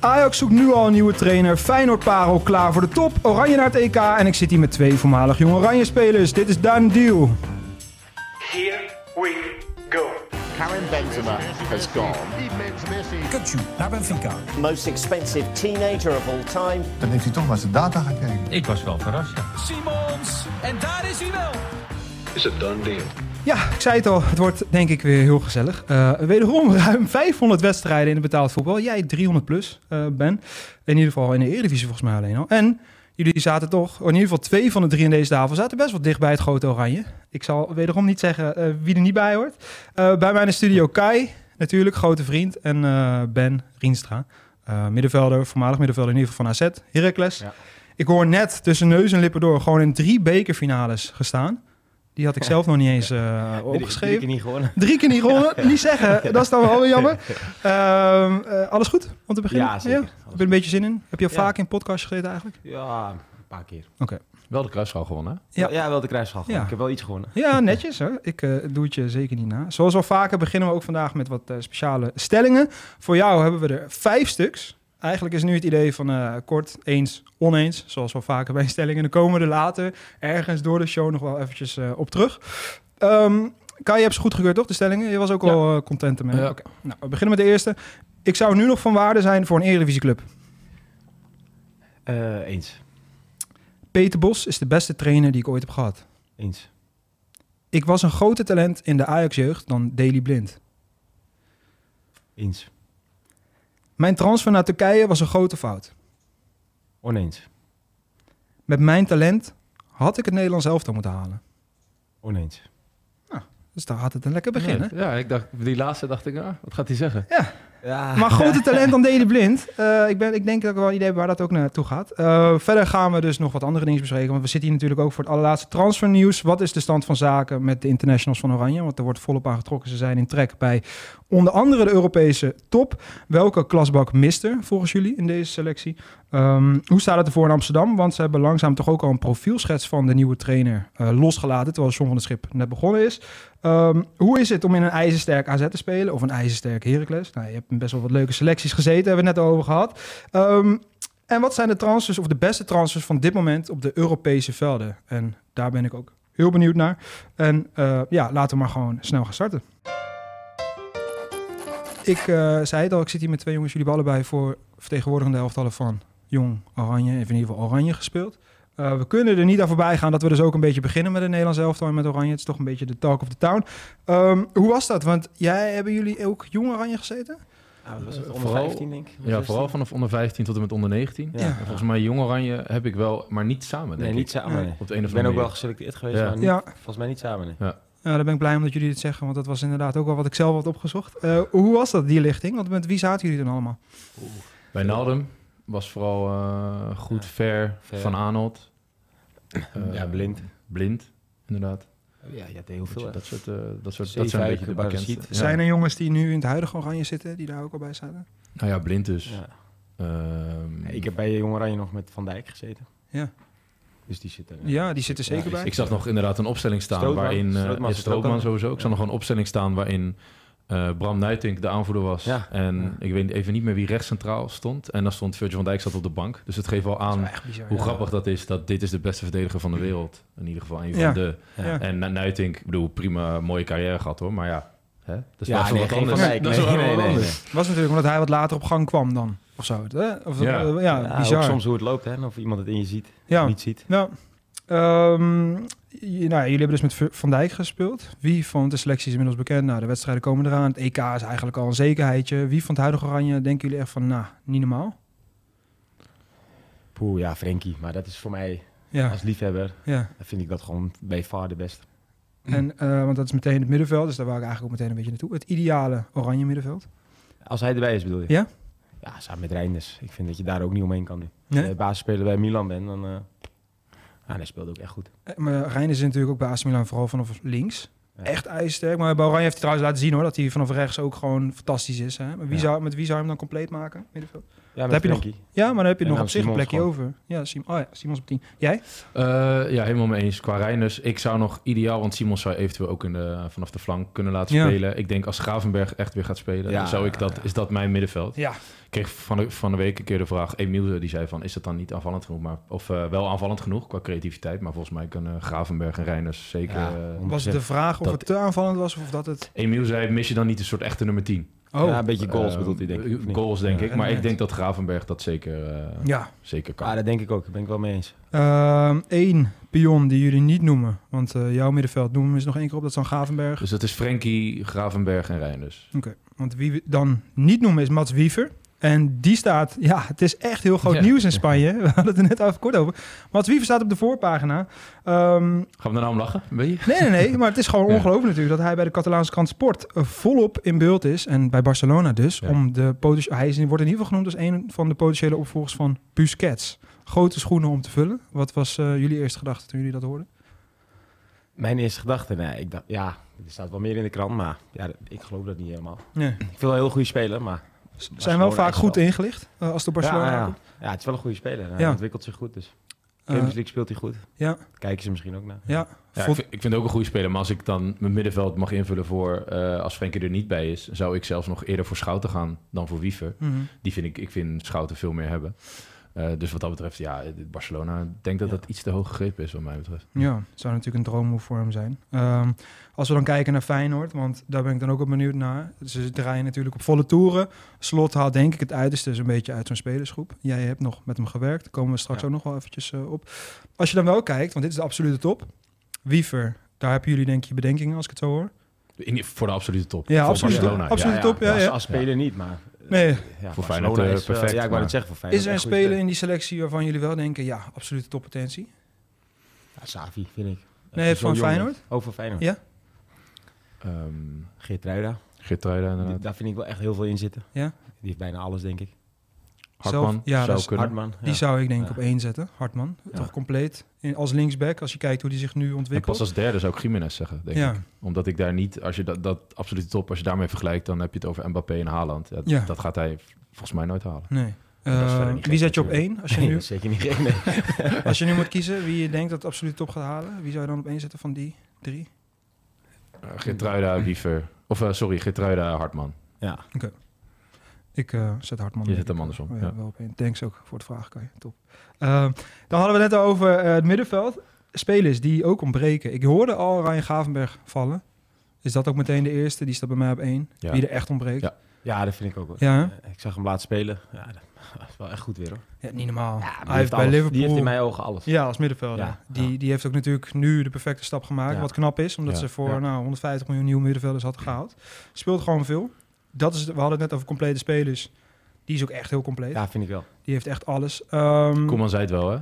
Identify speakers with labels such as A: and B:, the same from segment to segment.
A: Ajax zoekt nu al een nieuwe trainer. Feyenoord Parel klaar voor de top. Oranje naar het EK. En ik zit hier met twee voormalig jonge Oranje spelers. Dit is Daan Deal.
B: Here we go.
C: Karim Benzema has gone.
D: Kutsu naar Benfica.
E: most expensive teenager of all time.
F: Dan heeft hij toch maar zijn data gekeken.
G: Ik was wel verrast, ja.
D: Simons. En daar is hij wel.
B: It's a done deal.
A: Ja, ik zei het al. Het wordt denk ik weer heel gezellig. Eh, wederom ruim 500 wedstrijden in het betaald voetbal. Jij 300 plus, eh, Ben. In ieder geval in de Eredivisie volgens mij alleen al. En jullie zaten toch, in ieder geval twee van de drie in deze tafel, zaten best wel dicht bij het grote oranje. Ik zal wederom niet zeggen eh, wie er niet bij hoort. Eh, bij mij in de studio Kai, natuurlijk, grote vriend. En eh, Ben Rienstra, eh, middenvelder, voormalig middenvelder in ieder geval van AZ, Heracles.
C: Ja.
A: Ik hoor net tussen neus en lippen door gewoon in drie bekerfinales gestaan. Die had ik zelf nog niet eens eh, opgeschreven.
H: Ik niet gewonnen.
A: Drie keer niet rollen, niet zeggen. Dat is dan wel weer jammer. Ehm, eh, alles goed om te beginnen?
H: Ja, zeker.
A: Heb je een beetje zin in? Heb je al
H: Ja.
A: vaak in podcast gezeten eigenlijk?
H: Ja, een paar keer.
C: Wel de kruisschouw gewonnen. hè?
A: Ja.
H: Ja, ja wel de kruisschal.
A: Ja.
H: Ik heb wel iets gewonnen.
A: Ja, netjes hoor. Ik eh, doe het je zeker niet na. Zoals al vaker beginnen we ook vandaag met wat eh, speciale stellingen. Voor jou hebben we er vijf stuks. Eigenlijk is nu het idee van eh, kort, eens, oneens. Zoals wel vaker bij stellingen. Dan komen we er later ergens door de show nog wel eventjes eh, op terug. Ehm Kai, je hebt ze goed gekeurd toch, de stellingen? Je was ook
H: Ja.
A: al eh, content ermee.
C: Ja.
A: Oké. Nou, we beginnen met de eerste. Ik zou nu nog van waarde zijn voor een Eredivisieclub.
H: Eh, eens.
A: Peter Bos is de beste trainer die ik ooit heb gehad.
H: Eens.
A: Ik was een groter talent in de Ajax-jeugd dan Daily Blind.
H: Eens.
A: Mijn transfer naar Turkije was een grote fout.
H: Oneens.
A: Met mijn talent had ik het Nederlands elftal moeten halen.
H: Oneens.
A: Dus daar had het een lekker begin, hè?
C: Ja, ik dacht, die laatste dacht ik, ah, wat gaat hij zeggen?
H: Ja.
A: Maar grote talent dan Deli Blind. Eh, ik, ben, ik denk dat ik wel een idee heb waar dat ook naartoe gaat. Eh, verder gaan we dus nog wat andere dingen bespreken. Want we zitten hier natuurlijk ook voor het allerlaatste transfernieuws. Wat is de stand van zaken met de internationals van Oranje? Want er wordt volop aan getrokken. Ze zijn in trek bij onder andere de Europese top. Welke klasbak mist er volgens jullie in deze selectie? Ehm, hoe staat het ervoor in Amsterdam? Want ze hebben langzaam toch ook al een profielschets van de nieuwe trainer eh, losgelaten. Terwijl John van der Schip net begonnen is. Ehm, hoe is het om in een ijzersterk AZ te spelen of een ijzersterk Heracles? Nou, je hebt best wel wat leuke selecties gezeten, hebben we het net over gehad. Ehm, en wat zijn de transfers of de beste transfers van dit moment op de Europese velden? En daar ben ik ook heel benieuwd naar. En eh, ja, laten we maar gewoon snel gaan starten. Ik eh, zei het al, ik zit hier met twee jongens, jullie hebben allebei voor vertegenwoordigende elftallen van Jong Oranje, of in ieder geval Oranje gespeeld. Eh, we kunnen er niet aan voorbij gaan dat we dus ook een beetje beginnen met het Nederlands elftal en met Oranje. Het is toch een beetje de talk of the town. Ehm, hoe was dat? Want jij, hebben jullie ook Jong Oranje gezeten?
H: Ah, wat was het? Onder
C: Vooral-
H: 15, denk ik. Onder
C: Ja,
H: 16?
C: vooral vanaf onder 15 tot en met onder 19.
H: Ja.
C: En Volgens mij Jong Oranje heb ik wel, maar niet samen, denk
H: Nee, niet
C: ik.
H: samen.
A: Nee.
H: nee.
C: Op de een of
H: Ik ben
C: andere
H: ook wel
C: manier.
H: geselecteerd geweest,
C: Ja.
H: maar niet-
A: Ja.
H: volgens mij niet samen. Nee.
A: Ja, daar ben ik blij om dat jullie dit zeggen, want dat was inderdaad ook wel wat ik zelf had opgezocht. Eh, hoe was dat, die lichting? Want met wie zaten jullie dan allemaal?
C: Bij Naldum was vooral eh, goed, ver,
H: Ver.
C: Van Arnold. Eh,
H: ja, blind.
C: Blind, inderdaad.
H: Ja, je hebt heel
C: Dat, je-
H: veel.
C: dat, soort, eh, dat, soort,
H: Zeefuik,
C: dat zijn een beetje de
H: Parasiet.
C: bekendste. Ja.
A: Zijn er jongens die nu in het huidige Oranje zitten, die daar ook al bij zaten?
C: Nou ja, blind dus.
H: Ja.
C: Ehm,
H: Ik heb bij Jong Oranje nog met Van Dijk gezeten.
A: Ja.
H: Dus die zitten...
A: Ja, die zitten zeker bij.
C: Ik zag nog inderdaad een opstelling staan
H: Strootman.
C: waarin... eh,
H: Strootman
C: ja,
H: zit er ook
C: Strootman
H: al.
C: sowieso. Ik zag nog een opstelling staan waarin eh, Bram Nuitink de aanvoerder was.
H: Ja.
C: En
H: Ja.
C: ik weet even niet meer wie rechts centraal stond. En daar stond Virgil van Dijk zat op de bank. Dus het geeft wel
A: Dat is
C: aan
A: wel echt bizar,
C: hoe
A: ja.
C: grappig dat is. Dat dit is de beste verdediger van de wereld. In ieder geval een van
A: Ja.
C: de...
A: Ja.
C: En Na- Nuitink, ik bedoel, prima mooie carrière gehad hoor. Maar ja, hè? dat is
H: Ja,
C: wel
H: nee,
C: wat
H: geen
C: anders.
H: Van Dijk.
C: Dat is wel
H: Nee,
C: wat
H: nee, nee,
C: anders.
H: nee.
A: Was natuurlijk omdat hij wat later op gang kwam dan, of zo. Hè? Of, dat-
C: Ja.
A: eh,
H: Ja,
A: ja,
H: ook
A: bizar.
H: soms hoe het loopt, hè. Of iemand het in je ziet,
A: ja.
H: niet ziet.
A: Nou, ehm, j- nou, ja, jullie hebben dus met V- Van Dijk gespeeld. Wie van de selecties is inmiddels bekend? Nou, de wedstrijden komen eraan. Het EK is eigenlijk al een zekerheidje. Wie van het huidige Oranje denken jullie echt van, nou, niet normaal?
H: Poeh, ja, Frenkie. Maar dat is voor mij,
A: Ja,
H: als liefhebber,
A: ja.
H: vind ik dat gewoon bij far de beste. Mm.
A: En, eh, want dat is meteen het middenveld, dus daar wou ik eigenlijk ook meteen een beetje naartoe. Het ideale Oranje middenveld.
H: Als hij erbij is, bedoel je?
A: Ja?
H: Ja, samen met Reinders. Ik vind dat je daar ook niet omheen kan nu.
A: Nee?
H: Als je basisspeler bij Milan bent, dan... eh ah, hij speelde ook echt goed.
A: Eh, Maar Rijn is natuurlijk ook bij AC Milan vooral vanaf links.
H: Ja.
A: Echt ijzersterk. Maar bij Oranje heeft hij trouwens laten zien hoor, dat hij vanaf rechts ook gewoon fantastisch is. Hè? Maar wie
H: Ja.
A: zou, met wie zou je hem dan compleet maken? Middenveld?
H: Ja, met
A: heb je nog-
H: Frenkie.
A: Ja, maar dan heb je
H: En
A: nog
H: dan
A: op zich een
H: Simons
A: plekje
H: gewoon.
A: over. Ja, Sim oh ja, Simons op 10. Jij?
C: Eh, ja, helemaal mee eens. Qua Reiners, ik zou nog ideaal, want Simons zou eventueel ook in de, vanaf de flank kunnen laten
A: Ja.
C: spelen. Ik denk als Gravenberg echt weer gaat spelen,
H: Ja.
C: dan zou ik dat, is dat mijn middenveld.
A: Ja,
C: kreeg van de, van de week een keer de vraag. Emiel eh, die zei van, is dat dan niet aanvallend genoeg? Maar, of eh, wel aanvallend genoeg qua creativiteit. Maar volgens mij kunnen Gravenberg en Reiners zeker...
H: Ja,
C: eh,
A: Was de vraag of
C: dat-
A: het te aanvallend was of dat het...
C: Emiel zei, mis je dan niet een soort echte nummer 10?
A: Oh,
H: Ja,
A: ja.
H: een beetje goals
C: Eh,
H: bedoelt hij denk ik. of niet?
C: Goals denk
H: Ja.
C: ik. Maar ik
A: inderdaad.
C: denk dat Gravenberg dat zeker, eh, zeker kan.
H: Ah, dat denk ik ook. Daar ben ik wel mee eens.
A: Ehm, één pion die jullie niet noemen. Want eh, jouw middenveld noemen is nog één keer op. Dat is dan Gavenberg.
C: Dus dat is Frenkie, Gravenberg en Reinders.
A: Want wie we dan niet noemen is Mats Wiever. En die staat... Ja, het is echt heel groot
C: Ja.
A: nieuws in Spanje. We hadden het er net even kort over. Mats Wiever staat op de voorpagina. Ehm,
C: Gaan we daar nou om lachen? Weet je?
A: Nee, nee, nee. Maar het is gewoon
C: Ja.
A: ongelooflijk natuurlijk dat hij bij de Catalaanse krant Sport eh, volop in beeld is. En bij Barcelona dus.
C: Ja.
A: Om de poten- hij is, wordt in ieder geval genoemd als een van de potentiële opvolgers van Busquets. Grote schoenen om te vullen. Wat was eh, jullie eerste gedachte toen jullie dat hoorden?
H: Mijn eerste gedachte, nee, ik dacht, ja, er staat wel meer in de krant, maar ja, dat- ik geloof dat niet helemaal.
A: Nee.
H: Ik vind wel een heel goede speler, maar...
A: Ze zijn
H: Barcelona
A: wel vaak
H: is
A: goed
H: wel-
A: ingelicht eh, als de Barcelona
H: ja, ja.
A: aankomt.
H: ja, het is wel een goede speler. Hij
A: Ja.
H: ontwikkelt zich goed, dus
A: Eh,
H: Champions League speelt hij goed.
A: ja.
H: Kijken ze misschien ook naar.
A: ja.
C: Ja,
A: Vol-
C: ik, vind, ik vind het ook een goede speler. Maar als ik dan mijn middenveld mag invullen voor... eh, als Frenkie er niet bij is... zou ik zelfs nog eerder voor Schouten gaan dan voor Wiever.
A: Mhm.
C: Die vind ik... Ik vind Schouten veel meer hebben. Eh, dus wat dat betreft, ja, Barcelona... Ik denk dat dat iets te hoog gegrepen is wat mij betreft.
A: Ja, het zou natuurlijk een droommove voor hem zijn. Ehm, als we dan kijken naar Feyenoord, want daar ben ik dan ook op benieuwd naar. Ze draaien natuurlijk op volle toeren. Slot haalt denk ik het uiterste dus een beetje uit zo'n spelersgroep. Jij hebt nog met hem gewerkt, daar komen we straks
H: Ja.
A: ook nog wel eventjes eh, op. Als je dan wel kijkt, want dit is de absolute top. Wiever, daar hebben jullie denk ik je bedenkingen als ik het zo hoor.
C: In, voor de absolute top.
A: Ja,
C: voor
A: absolute top.
C: Barcelona. ja.
A: Absoluut top, ja,
H: als,
A: ja.
H: als speler niet, maar...
A: Nee,
H: Ja,
C: Voor
H: Barcelona
C: Feyenoord, eh,
H: is wel-
C: perfect,
H: Ja, ik
C: maar-
H: wou het zeggen, voor Feyenoord.
A: is er een
H: echt goede
A: speler in die selectie waarvan jullie wel denken, ja, absolute toppotentie?
H: Ja, Savi, vind ik.
A: Nee, van Feyenoord?
H: Over Feyenoord.
A: Ja.
C: Ehm,
H: Geertruida.
C: Geertruida
H: die-
C: inderdaad.
H: Daar vind ik wel echt heel veel in zitten.
A: Ja.
H: Die heeft bijna alles, denk ik.
C: Hartman
A: Zelf- ja, dat
C: zou
A: is
C: kunnen.
H: Hartman.
A: Die zou ik denk ik
H: Ja.
A: op één zetten, Hartman.
H: Ja.
A: Toch compleet. In, als linksback, als je kijkt hoe die zich nu
C: En pas
A: ontwikkelt.
C: als derde zou ik Jiménez zeggen, denk
A: Ja.
C: ik. Omdat ik daar niet... Als je dat, dat absolute top... Als je daarmee vergelijkt, dan heb je het over Mbappé en Haaland. Ja,
A: Ja.
C: Dat gaat hij volgens mij nooit halen.
A: Nee.
C: dat is
A: Eh,
C: verder niet
A: wie
C: gek
A: zet je op één? Als je, nu,
H: Zeker niet. Nee.
A: als je nu moet kiezen wie je denkt dat het absoluut top gaat halen, wie zou je dan op één zetten van die drie?
C: Eh, Geertruida, Wiever... Of eh, sorry, Geertruida, Hartman.
H: Ja.
A: Ik eh, zet Hartman.
C: Je
A: denk
C: zet hem
A: ik,
C: andersom,
A: eh,
C: ja.
A: wel op één. Thanks ook voor het vragen, kan je. Top. Ehm, dan hadden we het net over eh, het middenveld. Spelers die ook ontbreken. Ik hoorde al Ryan Gavenberg vallen. Is dat ook meteen de eerste? Die staat bij mij op één.
C: Ja.
A: Wie er echt ontbreekt. Ja,
C: Ja.
H: ja, dat vind ik ook wel. Eh,
A: hè?
H: Ik zag hem laatst spelen. Ja, dat dat is wel echt goed weer hoor.
A: Ja, niet normaal.
H: Ja, die
A: Hij heeft bij
H: alles.
A: Liverpool...
H: Die heeft in mijn ogen alles.
A: Ja, als middenvelder.
H: Ja,
A: Die,
H: ja.
A: die heeft ook natuurlijk nu de perfecte stap gemaakt.
H: Ja.
A: Wat knap is, omdat
C: Ja,
A: ze voor
C: ja.
A: nou, 150 miljoen nieuwe middenvelders had gehaald. Speelt gewoon veel. Dat is, het- we hadden het net over complete spelers. Die is ook echt heel compleet.
H: Ja, vind ik wel.
A: Die heeft echt alles. Ehm,
C: Koeman zei het wel, hè?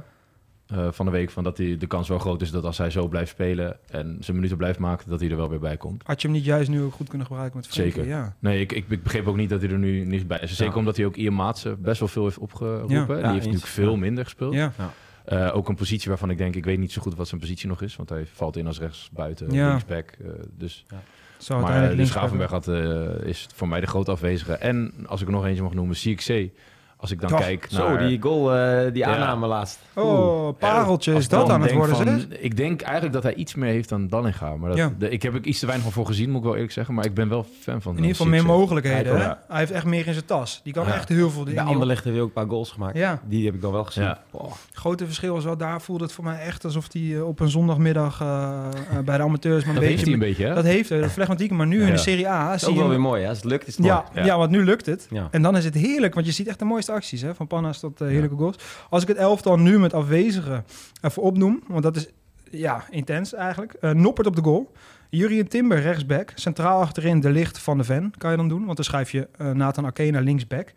C: eh, van de week van dat hij de kans wel groot is dat als hij zo blijft spelen en zijn minuten blijft maken, dat hij er wel weer bij komt.
A: had je hem niet juist nu ook goed kunnen gebruiken met Frenkie?
C: Zeker.
A: Ja.
C: Nee, ik, ik, ik begreep ook niet dat hij er nu niet bij is. Zeker
H: Ja.
C: omdat hij ook Ian Maatsen best wel veel heeft opgeroepen.
A: Ja.
C: Die heeft
H: Ja, eens.
C: natuurlijk veel minder gespeeld.
A: Ja.
C: Eh, ook een positie waarvan ik denk, ik weet niet zo goed wat zijn positie nog is. Want hij valt in als rechtsbuiten,
A: Ja.
C: linksback. eh, dus.
A: Zou
C: maar eh,
A: uiteindelijk
C: dus
A: links
C: Gravenberg had, eh, is voor mij de grote afwezige. En als ik er nog eentje mag noemen, CXC. Als ik dan
A: Toch.
C: kijk naar...
H: Zo, die goal, eh, die
C: Ja.
H: aanname laatst.
A: Oh, pareltje
C: Als
A: is
C: ik
A: dat
C: dan
A: aan het
C: denk
A: worden,
C: van-
A: zeg.
C: Ik denk eigenlijk dat hij iets meer heeft dan Dallinga. Maar dat,
A: Ja.
C: de- ik heb er iets te weinig van voor gezien, moet ik wel eerlijk zeggen. Maar ik ben wel fan van
A: In ieder geval
C: eh,
A: meer
C: CXC.
A: mogelijkheden. hè?
C: Ja.
A: Hij heeft echt meer in zijn tas. Die kan
C: Ja.
A: echt heel veel
H: Bij
A: dingen.
H: Anderlecht heeft hij ook een paar goals gemaakt.
A: Ja.
H: Die heb ik dan wel gezien.
C: Ja.
H: Oh,
A: grote verschil is wel, daar voelde het voor mij echt alsof hij eh, op een zondagmiddag eh, eh, bij de amateurs maar een
C: Dat heeft
A: beetje...
C: hij een beetje, hè?
A: Dat heeft hij, dat flegmatieke. Maar nu
C: Ja.
A: in de Serie A
H: dat is
A: zie
H: ook
A: je...
H: wel weer mooi. hè. Als het lukt, is het
A: ja, ja.
C: Ja.
A: want nu lukt het.
H: mooi. Ja.
A: En dan is het heerlijk, want je ziet echt de mooiste acties. Hè? Van panna's tot eh, heerlijke goals. Als ik het elftal nu met afwezigen even opnoem, want dat is ja, intens eigenlijk. Eh, Noppert op de goal. Jurien Timber rechtsback. Centraal achterin de licht van de Ven kan je dan doen. Want dan schrijf je eh, Nathan Akena linksback.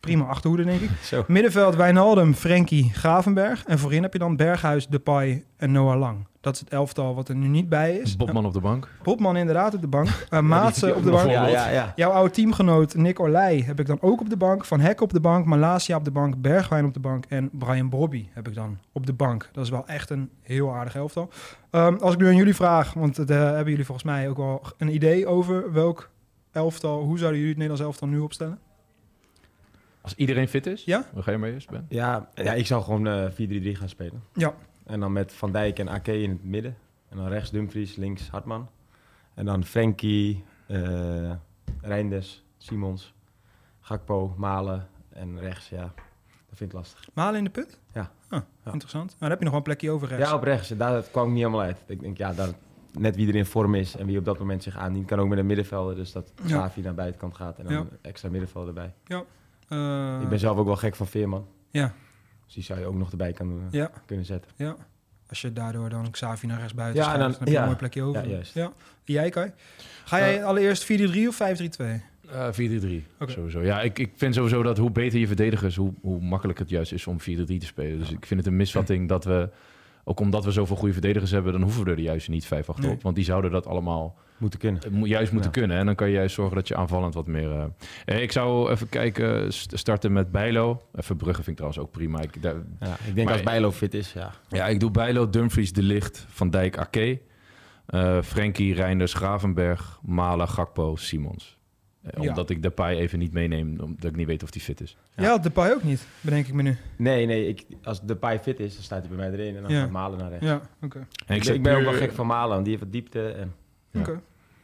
A: Prima achterhoede, denk ik.
H: Zo.
A: Middenveld Wijnaldum, Frenkie, Gravenberg. En voorin heb je dan Berghuis, Depay en Noah Lang. Dat is het elftal wat er nu niet bij is.
C: Bobman op de bank.
A: Bobman inderdaad op de bank. Eh Maatsen op de bank.
H: Ja, ja, ja.
A: Jouw oude teamgenoot Nick Olij heb ik dan ook op de bank. Van Hek op de bank, Malasia op de bank, Bergwijn op de bank en Brian Brobby heb ik dan op de bank. Dat is wel echt een heel aardig elftal. Ehm, als ik nu aan jullie vraag, want daar hebben jullie volgens mij ook wel een idee over welk elftal, hoe zouden jullie het Nederlands elftal nu opstellen?
C: Als iedereen fit is,
A: Ja?
C: dan ga je mee eens, Ben.
H: Ja, ja, ik zou gewoon eh, 4-3-3 gaan spelen.
A: Ja.
H: En dan met Van Dijk en Ake in het midden. En dan rechts Dumfries, links Hartman. En dan Frenkie, eh Reinders, Simons, Gakpo, Malen, eh, en rechts, ja. Dat vind ik lastig.
A: Malen in de put?
H: Ja.
A: Ah, Interessant. Maar dan heb je nog wel een plekje over rechts.
H: Ja, op rechts. Daar dat kwam ik niet helemaal uit. Ik denk, ja, daar, net wie er in vorm is en wie op dat moment zich aandient, kan ook met een middenvelder. Dus dat
A: Ja.
H: Savi naar buitenkant gaat en dan
A: Ja.
H: een extra middenvelder erbij.
A: Eh,
H: ik ben zelf ook wel gek van Veerman.
A: Ja.
H: Dus die zou je ook nog erbij kan, eh,
A: Ja.
H: kunnen zetten.
A: Ja. Als je daardoor dan Xavi naar rechts buiten
H: Ja,
A: schuift,
H: en dan-
A: dan heb je
H: ja.
A: een mooi plekje over.
H: Ja, juist. Eh,
A: Jij, Kai? Ga jij allereerst 4-3 of 5-3-2?
C: Eh, 4-3-3,
A: Oké.
C: sowieso. Ja, ik, ik vind sowieso dat hoe beter je verdedigers, hoe, hoe makkelijk het juist is om 4-3 te spelen. Dus ik vind het een misvatting dat we, ook omdat we zoveel goede verdedigers hebben, dan hoeven we er juist niet 5 achterop.
A: Nee.
C: Want die zouden dat allemaal
H: Moeten kunnen.
C: eh, mo- juist moeten
H: Ja.
C: kunnen. En dan kan je juist zorgen dat je aanvallend wat meer... eh, eh, ik zou even kijken, st- starten met Bijlo. Even Brugge vind ik trouwens ook prima. Ik, daar-
H: Ja, ik denk
C: Maar-
H: als Bijlo fit is, ja.
C: ja, ik doe Bijlo, Dumfries, De Licht, Van Dijk, Ake. eh Frenkie, Reinders, Gravenberg, Malen, Gakpo, Simons. Eh,
A: Ja.
C: Omdat ik Depay even niet meeneem, omdat ik niet weet of hij fit is.
A: Ja, ja Depay ook niet, bedenk ik me nu.
H: Nee, nee, ik, als Depay fit is, dan staat hij bij mij erin en dan
A: Ja.
H: gaat Malen naar rechts.
A: Ja, oké.
C: En
H: Ik,
C: zet
H: ik ben ook wel
C: puur-
H: gek van Malen, want die heeft wat diepte. En,
C: Ja.
A: Oké.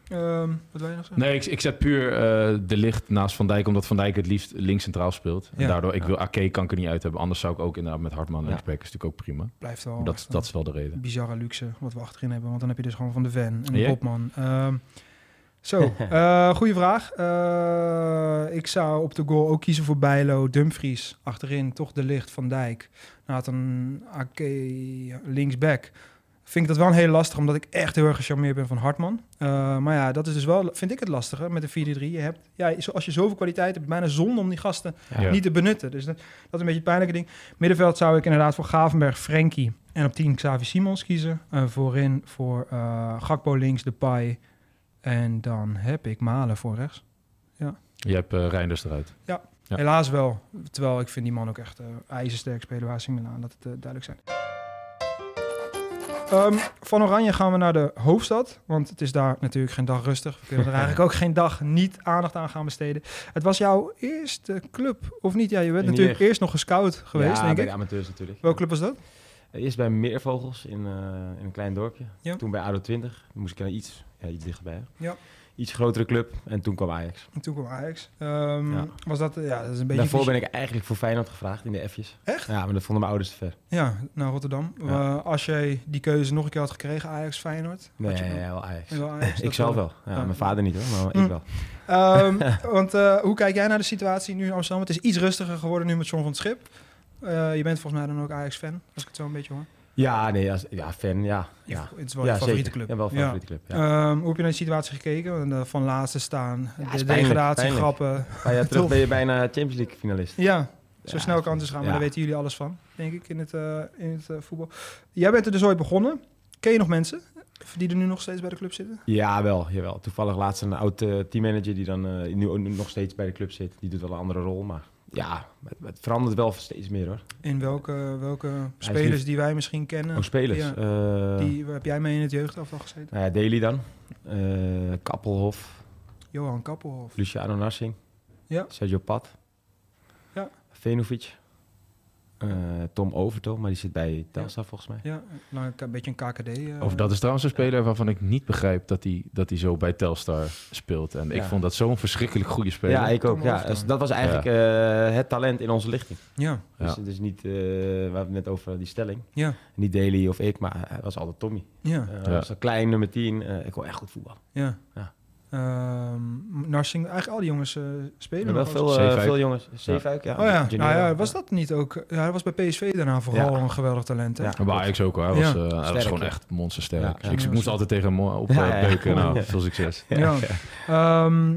A: Ehm, wat wil je nog zeggen?
C: Nee, ik, ik zet puur eh, de licht naast Van Dijk, omdat Van Dijk het liefst links centraal speelt. En
A: Ja.
C: daardoor, ik
H: Ja.
C: wil Ake kan ik er niet uit hebben. Anders zou ik ook inderdaad met Hartman
H: Ja.
C: linksback is natuurlijk ook prima.
A: Blijft wel
C: Maar dat,
A: echt een
C: dat is wel de reden.
A: bizarre luxe wat we achterin hebben. Want dan heb je dus gewoon Van de Ven en
C: En jij?
A: Bobman. Ehm, zo, eh goede vraag. Eh, ik zou op de goal ook kiezen voor Bijlo, Dumfries. Achterin toch de licht Van Dijk. Nathan Ake linksback. Vind ik dat wel een heel lastig, omdat ik echt heel erg gecharmeerd ben van Hartman. Eh, maar ja, dat is dus wel, vind ik het lastige met de 4-3. Je hebt, ja, als je zoveel kwaliteit hebt, bijna zonde om die gasten
C: Ja.
A: niet te benutten. Dus dat, dat is een beetje het pijnlijke ding. Middenveld zou ik inderdaad voor Gavenberg, Frenkie en op 10 Xavi Simons kiezen. Eh, voorin voor eh, Gakpo links, Depay. En dan heb ik Malen voor rechts.
C: Je hebt eh, Reinders eruit. Ja.
A: Helaas wel. Terwijl ik vind die man ook echt eh, ijzersterk spelen waar AC Milan. Dat het eh, duidelijk zijn. Ehm, van Oranje gaan we naar de hoofdstad. Want het is daar natuurlijk geen dag rustig. We kunnen er eigenlijk ook geen dag niet aandacht aan gaan besteden. Het was jouw eerste club, of niet? Ja, je bent
H: Niet
A: natuurlijk
H: echt.
A: eerst nog gescout geweest,
H: ja,
A: denk
H: bij
A: ik.
H: de amateurs natuurlijk.
A: Welke club was dat?
H: Eerst bij Meervogels in, eh, in een klein dorpje.
A: Ja.
H: Toen bij ADO 20. Dan moest ik naar iets, ja, iets dichterbij. hè.
A: Ja.
H: Iets grotere club. En toen kwam Ajax.
A: En toen kwam Ajax. Ehm,
H: Ja.
A: Was dat, ja, dat is een beetje...
H: Daarvoor ben ik eigenlijk voor Feyenoord gevraagd in de F'jes.
A: Echt?
H: Ja, maar dat vonden mijn ouders te ver.
A: Ja, naar Rotterdam.
H: Ja.
A: Eh, als jij die keuze nog een keer had gekregen, Ajax-Feyenoord...
H: Nee,
A: je
H: ja,
A: dan?
H: wel Ajax.
A: En wel Ajax,
H: ik
A: dat
H: zelf
A: wel.
H: wel. Ja,
A: Ja.
H: Mijn vader niet hoor, maar
A: Hm.
H: ik wel.
A: Ehm, want eh, hoe kijk jij naar de situatie nu in Amsterdam? Het is iets rustiger geworden nu met John van het Schip. Eh, je bent volgens mij dan ook Ajax-fan, als ik het zo een beetje hoor.
H: Ja, nee, als, ja, fan, ja.
A: Je-
H: ja.
A: Het is wel
H: ja,
A: je favoriete
H: zeker.
A: club.
H: Ja, wel
A: Ja.
H: favoriete club. Ja.
A: Ehm, hoe heb je naar de situatie gekeken? Want, eh, van laatste staan,
H: is
A: de
H: pijnlijk,
A: degradatie,
H: pijnlijk.
A: grappen.
H: Een paar jaar terug ben je bijna Champions League finalist.
A: Ja, zo
H: Ja,
A: snel kan het dus gaan, maar
H: ja.
A: daar weten jullie alles van, denk ik, in het, eh, in het eh, voetbal. Jij bent er dus ooit begonnen. Ken je nog mensen die er nu nog steeds bij de club zitten?
H: Ja, wel, jawel. Toevallig laatst een oud eh, teammanager die dan eh, nu ook nog steeds bij de club zit. Die doet wel een andere rol, maar ja, het, het verandert wel steeds meer hoor.
A: In welke, welke
H: is
A: spelers
H: lief.
A: die wij misschien kennen?
H: Ook spelers.
A: Ja.
H: eh,
A: Die, waar heb jij mee in het jeugdaftal gezeten?
H: Nou ja, Daly dan. Eh, Kappelhof.
A: Johan Kappelhof.
H: Luciano Narsing.
A: Ja.
H: Sergio Pat.
A: Ja.
H: Venovic. Eh, Tom Overtoom, maar die zit bij Telstar volgens mij.
A: Ja, nou, een k- beetje een KKD. eh.
C: Of dat is trouwens een speler waarvan ik niet begrijp dat hij dat hij zo bij Telstar speelt. En ik
H: Ja.
C: vond dat zo'n verschrikkelijk goede speler.
H: Ja, ik ook.
A: Tom
H: Ja,
A: Overtoom.
H: dus dat was eigenlijk eh, het talent in onze lichting.
A: Ja,
H: Dus
C: Ja.
H: het is niet, eh, we hebben het net over die stelling.
A: ja,
H: Niet Daly of ik, maar hij was altijd Tommy.
A: ja,
H: Eh,
C: Ja.
H: was een klein nummer 10. eh, ik kon echt goed voetballen.
A: ja.
H: Ja.
A: Ehm, Narsing, eigenlijk al die jongens eh, spelen
H: Maar wel
A: nog
H: veel,
A: altijd.
H: eh,
C: Zeefuik.
H: veel jongens. Zeefuik, ja.
A: Oh ja,
H: Junior.
A: nou ja, was dat niet ook? eh, Ja, hij was bij PSV daarna vooral
H: Ja.
A: een geweldig talent. Hè?
H: Ja.
C: Maar bij Ajax ook hoor. Hij, was,
A: Ja.
C: eh, hij was
H: Sterk,
C: gewoon
H: ja.
C: echt monstersterk.
H: Ja.
C: Dus ik
A: Ja.
C: moest altijd tegen hem op eh,
H: Ja, ja, ja.
C: beuken. Nou, veel succes.
A: Ja. Ehm,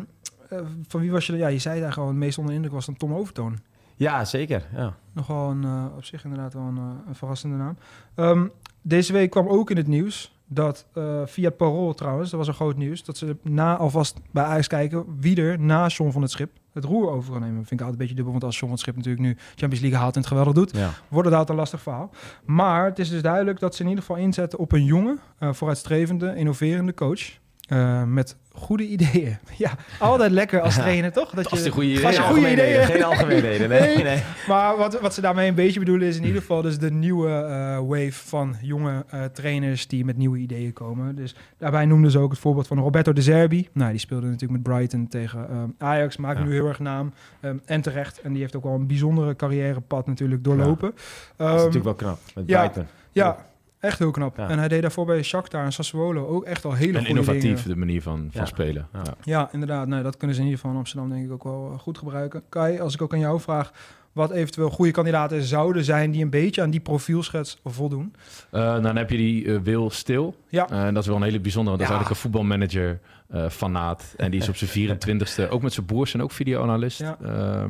A: eh, van wie was je? Ja, je zei daar gewoon het meest onder de indruk was dan Tom Overtoon.
H: Ja, zeker. Ja.
A: Nogal een, eh, op zich inderdaad wel een, eh, een verrassende naam. Ehm, deze week kwam ook in het nieuws dat eh, via Parool trouwens, dat was een groot nieuws, dat ze na alvast bij Ajax kijken wie er na John van het Schip het roer over kan nemen. Vind ik altijd een beetje dubbel, want als John van het Schip natuurlijk nu Champions League haalt en het geweldig doet,
H: Ja.
A: wordt het altijd een lastig verhaal. Maar het is dus duidelijk dat ze in ieder geval inzetten op een jonge, eh, vooruitstrevende, innoverende coach. eh, met goede ideeën. Ja, altijd lekker als trainer, toch? Dat
C: Als de goede idee.
A: Als je
H: Geen
A: goede
H: algemene
A: ideeën.
H: Geen algemene reden. Nee, nee.
A: Maar wat, wat ze daarmee een beetje bedoelen is in ieder geval dus de nieuwe eh, wave van jonge eh, trainers die met nieuwe ideeën komen. Dus daarbij noemden ze ook het voorbeeld van Roberto de Zerbi. Nou, die speelde natuurlijk met Brighton tegen ehm, Ajax, maakt
C: Ja.
A: nu heel erg naam. Ehm, en terecht. En die heeft ook wel een bijzondere carrièrepad natuurlijk doorlopen.
H: Dat is
A: Ehm,
H: natuurlijk wel knap. Met
A: ja.
H: Brighton.
A: ja, echt heel knap.
H: Ja.
A: En hij deed daarvoor bij Shakhtar en Sassuolo ook echt al hele
C: En
A: goede
C: innovatief,
A: dingen.
C: de manier van, van
H: Ja.
C: spelen. Ja.
A: Ja, inderdaad. Nee, dat kunnen ze in ieder geval in Amsterdam denk ik ook wel eh, goed gebruiken. Kai, als ik ook aan jou vraag wat eventueel goede kandidaten zouden zijn die een beetje aan die profielschets voldoen.
C: Eh, nou, dan heb je die eh, Wil Stil.
A: Ja.
C: Eh, en dat is wel een hele bijzondere, want dat
A: Ja.
C: is eigenlijk een voetbalmanager eh fanaat. En die is op zijn 24ste, ook met zijn broers en ook videoanalist.
A: Ja.
C: Ja,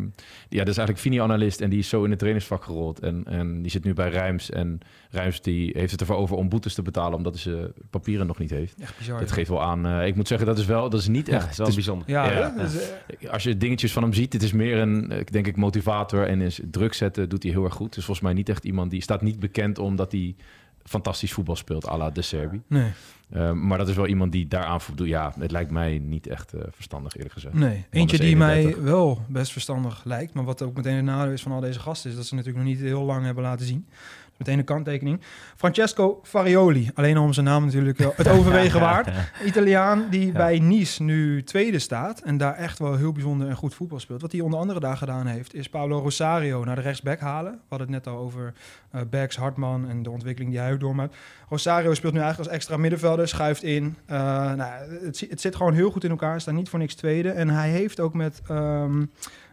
C: ja dat is eigenlijk videoanalist en die is zo in het trainingsvak gerold. En, en die zit nu bij Rijms. En Rijms die heeft het ervoor over om boetes te betalen, omdat hij zijn papieren nog niet heeft.
A: Echt bizar.
C: Dat geeft wel aan. eh, ik moet zeggen, dat is wel, dat is niet
H: Ja,
C: echt.
H: dat is wel
C: het is-
H: bijzonder.
A: ja,
C: Ja.
A: hè? Dus, eh,
C: als je dingetjes van hem ziet, dit is meer een, eh, denk ik, motivator. En is druk zetten doet hij heel erg goed. Dus volgens mij niet echt iemand die staat niet bekend omdat hij fantastisch voetbal speelt, à la de Serbi.
A: nee,
C: Eh, maar dat is wel iemand die daaraan voldoet. Ja, het lijkt mij niet echt eh, verstandig, eerlijk gezegd.
A: nee. Eentje
C: is
A: die mij
C: 31.
A: wel best verstandig lijkt, maar wat ook meteen het nadeel is van al deze gasten, is dat ze natuurlijk nog niet heel lang hebben laten zien. Dus Meteen een kanttekening. Francesco Farioli, alleen om zijn naam natuurlijk wel het overwegen waard. Italiaan die bij Nice nu tweede staat en daar echt wel heel bijzonder en goed voetbal speelt. Wat hij onder andere daar gedaan heeft, is Paolo Rosario naar de rechtsback halen. We hadden het net al over eh Bergs, Hartman en de ontwikkeling die hij ook doormaakt. Rosario speelt nu eigenlijk als extra middenvelder, schuift in. Eh, nou, het, zi- het zit gewoon heel goed in elkaar, staat niet voor niks tweede. En hij heeft ook met ehm,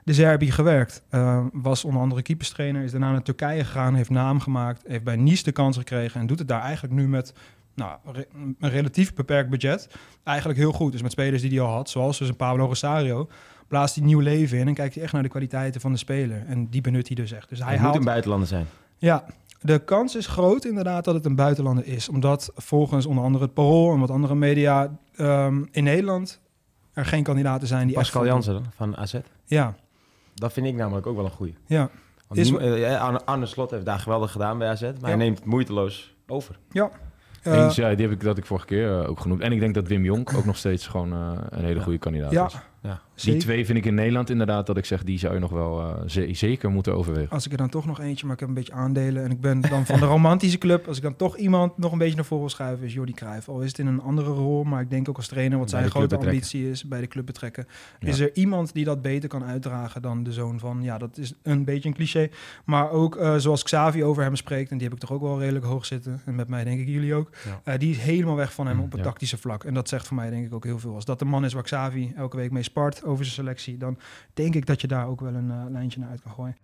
A: de Zerbi gewerkt. Eh, was onder andere keeperstrainer, is daarna naar Turkije gegaan, heeft naam gemaakt, heeft bij Nice de kans gekregen en doet het daar eigenlijk nu met nou, re- een relatief beperkt budget eigenlijk heel goed. Dus met spelers die hij al had, zoals dus een Pablo Rosario, blaast hij nieuw leven in en kijkt hij echt naar de kwaliteiten van de speler. En die benut hij dus echt. Dus hij
H: het moet
A: haalt
H: een buitenlander zijn.
A: ja, de kans is groot inderdaad dat het een buitenlander is. Omdat volgens onder andere het Parool en wat andere media ehm, in Nederland er geen kandidaten zijn die
H: Pascal
A: echt...
H: Jansen dan, van AZ.
A: Ja,
H: Dat vind ik namelijk ook wel een goeie.
A: ja.
H: Want
A: Is-
H: niem- eh, Arne, Arne Slot heeft daar geweldig gedaan bij AZ. Maar
A: Ja.
H: hij neemt het moeiteloos over.
A: Eh,
C: Eens, ja, die heb ik, dat ik vorige keer eh, ook genoemd. En ik denk dat Wim Jonk ook nog steeds gewoon eh, een hele goede kandidaat
A: ja,
C: is.
H: Ja.
C: Die
A: zeker.
C: twee vind ik in Nederland inderdaad, dat ik zeg, die zou je nog wel eh, ze- zeker moeten overwegen.
A: Als ik er dan toch nog eentje, maar ik heb een beetje aandelen en ik ben dan van de romantische club. Als ik dan toch iemand nog een beetje naar voren wil schuiven, is Jordi Cruijff. Al is het in een andere rol, maar ik denk ook als trainer, wat
C: Bij
A: zijn
C: de club
A: grote
C: betrekken.
A: ambitie is, bij de club betrekken.
C: Ja.
A: Is er iemand die dat beter kan uitdragen dan de zoon van, ja, dat is een beetje een cliché. Maar ook eh, zoals Xavi over hem spreekt, en die heb ik toch ook wel redelijk hoog zitten. En met mij denk ik jullie ook. Eh, die is helemaal weg van hem op het
C: Mm, ja.
A: tactische vlak. En dat zegt voor mij denk ik ook heel veel. Als dat de man is waar Xavi elke week mee spart over zijn selectie, dan denk ik dat je daar ook wel een eh, lijntje naar uit kan gooien.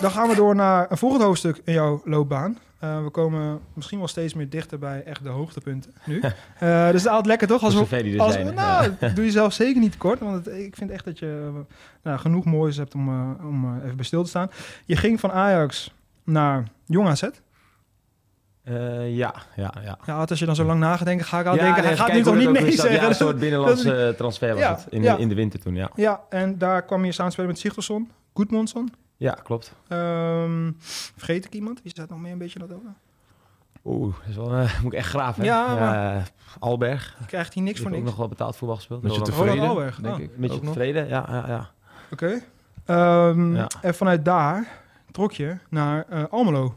A: Dan gaan we door naar een volgend hoofdstuk in jouw loopbaan. Eh, we komen misschien wel steeds meer dichter bij echt de hoogtepunten nu. Eh, dus dat is altijd lekker toch? Als
H: Hoe
A: we,
H: zover die er
A: als we-
H: zijn. Ja.
A: nou, doe jezelf zeker niet kort. Want het- ik vind echt dat je eh, nou, genoeg moois hebt om, eh, om eh, even bij stil te staan. Je ging van Ajax naar Jong AZ.
H: Eh, ja, ja, ja.
A: Ja, als je dan zo lang nagedenkt, ga ik al
H: Ja,
A: denken,
H: nee,
A: hij
H: even
A: gaat nu
H: kijken
A: toch
H: hoe
A: niet
H: dat ook
A: nee
H: is. Dat-
A: zeggen.
H: Ja, een soort binnenlandse
A: dat-
H: eh, transfer was
A: Ja,
H: het. In,
A: ja.
H: in de winter toen, ja.
A: Ja, en daar kwam je samenspelen met Sigtelson, Goedmondson.
H: Ja, klopt.
A: Ehm, vergeet ik iemand? Wie staat nog meer een beetje in dat over?
H: Oeh, dat is wel, eh, moet ik echt graven. hè?
A: Ja,
H: Eh, Alberg.
A: Je krijgt hier niks
H: Ik
A: voor
H: heb ook
A: niks.
H: nog wel betaald voetbal gespeeld.
C: Met je
H: Roland-
A: Roland
C: tevreden,
A: Alberg,
C: denk
A: ah.
C: ik.
H: Met je
C: ook nog.
H: tevreden, ja, ja, ja.
A: Oké. Ehm,
H: Ja.
A: En vanuit daar trok je naar eh, Almelo.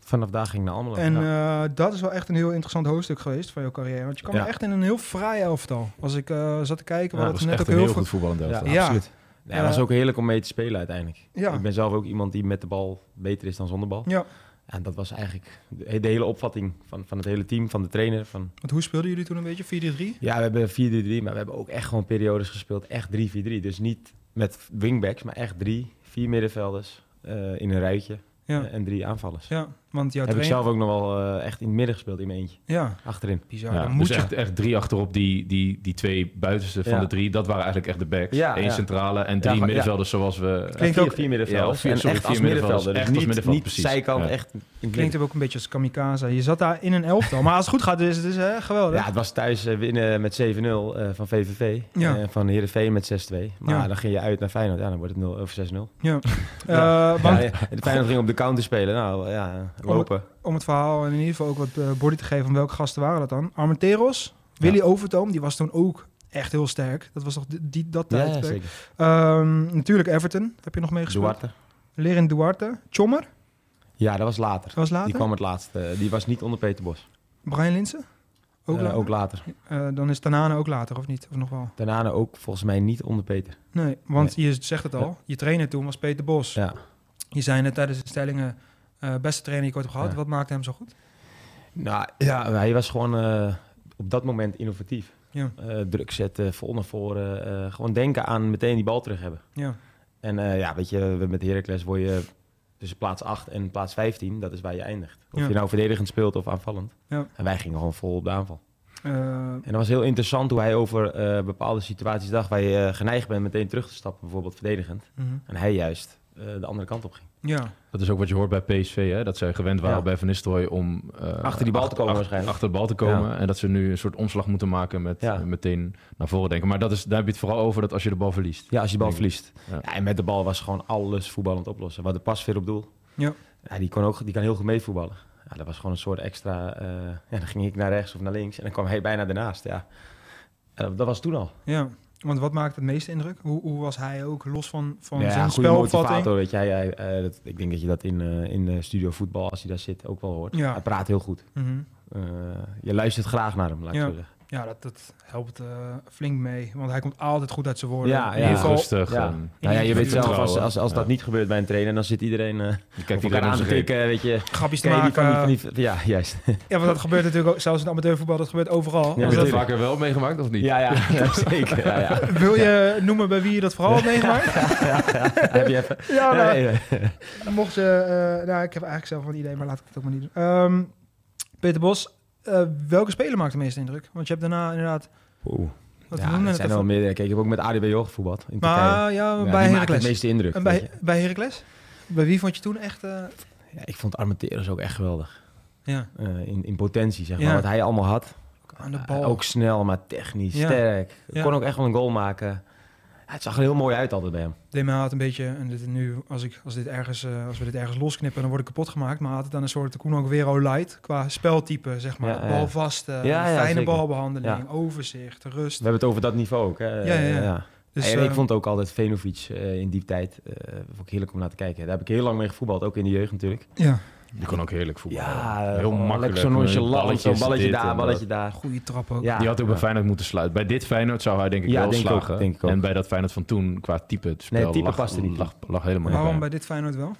H: Vanaf daar ging ik naar Almelo.
A: En
H: ja.
A: eh, dat is wel echt een heel interessant hoofdstuk geweest van jouw carrière. Want je kwam
H: Ja.
A: echt in een heel fraai elftal. Als ik eh, zat te kijken,
C: Ja,
A: we
C: dat
A: hadden
C: was
A: het
C: echt
A: net
C: een
A: ook
C: heel
A: heel veel...
C: goed voetballend
H: ja,
C: elftal.
A: ja.
H: absoluut. Nee, het was
A: Eh,
H: ook heerlijk om mee te spelen uiteindelijk.
A: Ja.
H: Ik ben zelf ook iemand die met de bal beter is dan zonder bal.
A: ja,
H: En dat was eigenlijk de, de hele opvatting van, van het hele team, van de trainer. Van,
A: want hoe speelden jullie toen een beetje? 4-3-3?
H: ja, we hebben 4-3-3, maar we hebben ook echt gewoon periodes gespeeld. Echt 3-4-3. Dus niet met wingbacks, maar echt drie, vier middenvelders eh, in een rijtje
A: Ja.
H: eh, en drie aanvallers.
A: Ja, want jouw
H: Heb ik
A: trainer...
H: zelf ook nog wel eh, echt in het midden gespeeld in mijn eentje,
A: Ja,
H: achterin.
A: bizar.
C: Ja,
A: dan
C: dus
A: moet je...
C: echt, echt drie achterop, die, die, die twee buitenste van
H: Ja.
C: de drie, dat waren eigenlijk echt de backs.
H: Ja,
C: Eén
H: ja.
C: centrale en drie
H: Ja, maar-
C: middenvelders zoals we...
A: Klinkt
H: vier,
A: ook-
H: vier
C: Ja,
H: middenvelders.
C: vier-
H: en
C: sorry,
H: echt
C: vier
H: als
C: middenvelders.
H: middenvelder. Dus
C: Echt
H: niet,
C: als middenveld,
H: niet
C: precies.
H: zijkant,
C: Ja.
H: echt in het midden.
A: Klinkt ook een beetje als kamikaze. Je zat daar in een elftal. Maar als het goed gaat, is het dus, hè, geweldig.
H: Ja, het was thuis eh, winnen met 7-0 eh, van VVV.
A: Ja.
H: Eh, van Heerenveen met 6-2. Maar
A: Ja.
H: dan ging je uit naar Feyenoord. Ja, dan wordt het 0 of 6-0.
A: Ja. Eh,
H: Ja,
A: want
H: ja. En Feyenoord ging op de counter spelen. Nou ja, lopen.
A: om het verhaal en in ieder geval ook wat eh, body te geven van welke gasten waren dat dan. Armenteros, Willy Overtoom, die was toen ook echt heel sterk. Dat was toch die, die- dat
H: Ja,
A: tijdperk.
H: zeker.
A: Ehm, natuurlijk Everton, heb je nog meegespeeld.
H: Duarte.
A: Lerin Duarte. Chommer,
H: Ja, dat was later.
A: dat was
H: Die
A: later.
H: kwam het laatste. Die was niet onder Peter Bos.
A: Brian Linsen, ook
H: Eh,
A: later.
H: ook later.
A: Eh, dan is Tanane ook later, of niet? Of nog wel?
H: Daarna ook volgens mij niet onder Peter.
A: Nee, want je zegt het al. Je trainer toen was Peter Bos.
H: Ja.
A: Je zei net tijdens de stellingen... eh, beste trainer die ik ooit heb gehad.
H: Ja.
A: Wat maakte hem zo goed?
H: Nou ja, hij was gewoon eh, op dat moment innovatief.
A: Ja.
H: Eh, druk zetten, vol naar voren. eh, gewoon denken aan meteen die bal terug hebben.
A: Ja,
H: En eh, ja, weet je, we- met Heracles word je tussen plaats 8 en plaats 15. Dat is waar je eindigt. Of
A: Ja.
H: je nou verdedigend speelt of aanvallend.
A: Ja.
H: En wij gingen gewoon vol op de aanval.
A: Eh,
H: En dat was heel interessant hoe hij over eh, bepaalde situaties dacht... waar je eh, geneigd bent meteen terug te stappen, bijvoorbeeld verdedigend.
A: mhm.
H: En hij juist eh, de andere kant op ging.
A: ja.
C: Dat is ook wat je hoort bij PSV, hè? dat zij gewend waren
H: Ja.
C: bij Van Nistelrooy om... eh,
H: Achter die bal te komen waarschijnlijk.
C: Achter de bal te komen
H: Ja.
C: en dat ze nu een soort omslag moeten maken met
H: Ja.
C: eh, meteen naar voren denken. Maar dat is, daar heb je het vooral over dat als je de bal verliest.
H: Ja, als je de bal
C: Denk ik.
H: verliest.
C: Ja.
H: Ja. en met de bal was gewoon alles voetballend oplossen. Wat de pas weer op doel.
A: Ja.
H: Ja, die, kon ook, die kan heel goed meevoetballen. Ja, dat was gewoon een soort extra... eh, ja, dan ging ik naar rechts of naar links en dan kwam hij bijna daarnaast. Ja. Ja, dat, dat was toen al.
A: Ja, want wat maakt het meeste indruk? Hoe, hoe was hij ook, los van, van
H: Ja,
A: zijn
H: goede
A: spelopvatting?
H: motivator. Weet je, hij, hij, eh, dat, ik denk dat je dat in, eh, in de studio voetbal, als hij daar zit, ook wel hoort.
A: Ja.
H: Hij praat heel goed.
A: Mhm.
H: Eh, je luistert graag naar hem, laat ik
A: Ja.
H: zo zeggen.
A: Ja, dat, dat helpt eh, flink mee. Want hij komt altijd goed uit zijn woorden.
H: Ja,
A: In
H: ja.
A: ieder geval-
C: Rustig.
H: Ja.
C: eh,
H: Nou ja, je weet zelf,
C: vertrouwen.
H: als, als, als dat
C: Ja.
H: niet gebeurt bij een trainer, dan zit iedereen... eh
C: je
H: Kijk,
C: kijkt
H: elkaar
C: iedereen
H: aan te
C: aan zijn reet.
H: tikken, weet je.
A: grapjes te
H: Ken je die
A: maken.
H: van die- van die- van die- ja, juist.
A: Ja, want dat gebeurt natuurlijk ook, zelfs in amateurvoetbal, dat gebeurt overal.
H: Ja,
C: Heb je dat
A: Dus
H: natuurlijk.
C: vaker wel meegemaakt of niet?
H: Ja, ja, ja, zeker. Ja, ja.
A: dat- wil je noemen bij wie je dat vooral hebt meegemaakt?
H: Heb je even...
A: Ja, nou,
H: Nee, nee.
A: mocht ze... eh, nou, ik heb eigenlijk zelf wel een idee, maar laat ik het ook maar niet doen. Ehm, Peter Bos, eh, welke speler maakt de meeste indruk? Want je hebt daarna inderdaad...
H: Oeh.
A: Wat we
H: Ja,
A: noemden
H: dat
A: het
H: zijn
A: even.
H: wel meer. eh, Kijk, ik heb ook met ADBO gevoetbald in Turkije.
A: Maar ja, bij
H: Ja, die maakt het
A: Heracles.
H: meeste indruk.
A: En
H: weet
A: bij,
H: je.
A: bij Heracles? Bij wie vond je toen echt... eh,
H: Ja, ik vond Armenteros ook echt geweldig.
A: ja,
H: Eh, in, in potentie, zeg maar.
A: Ja.
H: Wat hij allemaal had.
A: aan de bal.
H: Eh, ook snel, maar technisch,
A: Ja.
H: sterk.
A: Ja.
H: Kon ook echt wel een goal maken. Ja, het zag er heel mooi uit altijd bij hem.
A: deed mij haat een beetje, en dit, nu als, ik, als, dit ergens, eh, als we dit ergens losknippen, dan word ik kapot gemaakt. Maar had het dan een soort Koen ook weer light qua speltype, zeg maar.
H: Ja, ja.
A: Balvast, eh,
H: Ja, ja,
A: fijne
H: zeker.
A: balbehandeling,
H: Ja.
A: overzicht, rust.
H: We hebben het over dat niveau ook. Hè.
A: Ja, ja, ja. Dus,
H: en ik
A: eh,
H: vond ook altijd Venovic eh, in die tijd eh, vond ik heerlijk om naar te kijken. Daar heb ik heel lang mee gevoetbald, ook in de jeugd natuurlijk.
A: ja,
C: Die kon ook heerlijk voetballen.
H: Ja,
C: heel
H: gewoon
C: makkelijk. eh,
H: Lekker zo nonchalant, zo'n
C: Balletjes,
H: balletje
C: dit en
H: daar,
C: dat.
H: balletje daar.
A: goede trap ook.
H: Ja.
C: Die had ook bij Feyenoord moeten sluiten. Bij dit Feyenoord zou hij denk ik
H: Ja,
C: wel
H: denk ik ook,
C: slagen.
H: denk ik ook.
C: En bij dat Feyenoord van toen, qua type het spel,
H: Nee, type
C: lag,
H: paste niet.
C: lag, lag helemaal niet
A: Waarom
C: bij
A: bij dit Feyenoord wel?
C: hem.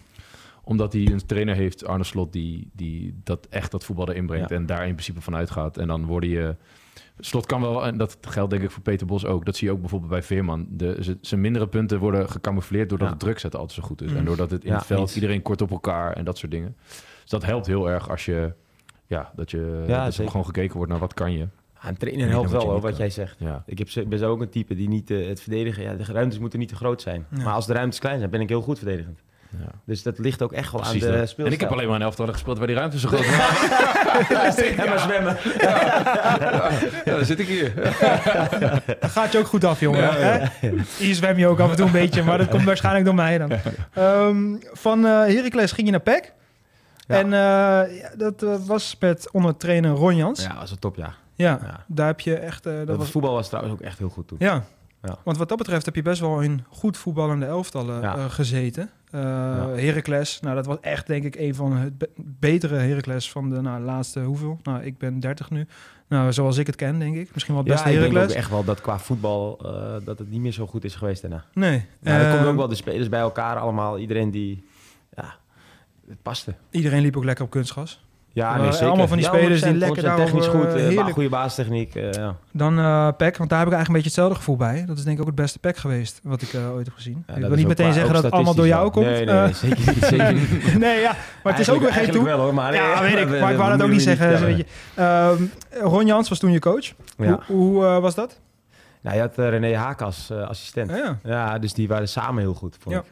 C: Omdat hij een trainer heeft, Arne Slot, die, die dat echt dat voetbal erin brengt.
H: Ja.
C: En daar in principe van uitgaat. En dan worden je... Slot kan wel, en dat geldt denk ik voor Peter Bos ook. Dat zie je ook bijvoorbeeld bij Veerman. De, ze- zijn mindere punten worden gecamoufleerd doordat
H: Ja.
C: het druk zetten altijd zo goed is.
A: Mm.
C: En doordat het in
H: Ja,
C: het veld
H: eens.
C: iedereen kort op elkaar en dat soort dingen. Dus dat helpt heel erg als je... Ja, dat je
H: Ja,
C: dat er
H: zeker.
C: gewoon gekeken wordt naar wat kan je.
H: Ja, een trainer
C: Ik weet
H: helpt
C: nog wat
H: wel,
C: je
H: hoor,
C: niet
H: wat
C: kan.
H: jij zegt.
C: Ja.
H: Ik heb, zo- ben zo ook een type die niet eh, het verdedigen... Ja, de ruimtes moeten niet te groot zijn.
A: Ja.
H: Maar als de ruimtes klein zijn, ben ik heel goed verdedigend.
C: Ja.
H: Dus dat ligt ook echt wel
C: Precies
H: aan de
C: dat.
H: speelstijl.
C: En ik heb alleen maar een elftal gespeeld waar die ruimte zo groot was.
H: Ja, maar zwemmen.
C: Ja, dan zit ik hier.
A: Dat gaat je ook goed af, jongen. hè? Hier zwem je ook af en toe een beetje, maar dat komt waarschijnlijk door mij dan. Ehm, van eh Heracles ging je naar PEC.
H: Ja.
A: En eh, ja, dat eh, was met onder trainer Ron Jans.
H: Ja, dat was een topjaar.
A: Ja,
H: Ja.
A: daar heb je echt... eh, dat
H: Dat
A: was,
H: voetbal was trouwens ook echt heel goed toen.
A: ja.
H: Ja.
A: want wat dat betreft heb je best wel in goed voetballende elftallen
H: Ja.
A: eh, gezeten. Eh Heracles, nou dat was echt denk ik een van het be- betere Heracles van de nou, laatste hoeveel? Nou, ik ben 30 nu. Nou, zoals ik het ken denk ik. Misschien wel het
H: Ja,
A: beste
H: ik denk ook
A: Heracles.
H: echt wel dat qua voetbal eh, dat het niet meer zo goed is geweest daarna.
A: Nee.
H: Maar er
A: Ehm,
H: komen ook wel de spelers bij elkaar allemaal. Iedereen die... Ja, het paste.
A: Iedereen liep ook lekker op kunstgas.
H: Ja,
A: nee, zeker. allemaal van die spelers die
H: 100%
A: lekker
H: zijn technisch
A: daarover,
H: goed,
A: eh,
H: eh, ba-
A: heerlijk.
H: goede baastechniek. eh, ja.
A: Dan eh Pack, want daar heb ik eigenlijk een beetje hetzelfde gevoel bij. Dat is denk ik ook het beste Pack geweest wat ik eh, ooit heb gezien.
H: Ja,
A: ik
H: dat
A: wil
H: is
A: niet
H: ook
A: meteen
H: qua-
A: zeggen
H: ook
A: dat het allemaal door jou
H: statistisch
A: komt.
H: wel. Nee, nee, nee,
A: Eh,
H: zeker niet. Zeker niet.
A: nee, ja. Maar het is ook weer geen toe.
H: Eigenlijk wel, hoor, maar eh,
A: Ja, weet ik.
H: we-
A: Maar ik
H: we
A: wou dat ook
H: moeten
A: niet
H: jullie
A: zeggen.
H: vertellen.
A: Weet je. Ehm, Ron Jans was toen je coach.
H: Ja.
A: Hoe, hoe, eh, was dat?
H: Nou, je had eh, René Haak als eh, assistent.
A: Ah, ja.
H: Ja, dus die waren samen heel goed, vond
A: Ja.
H: ik.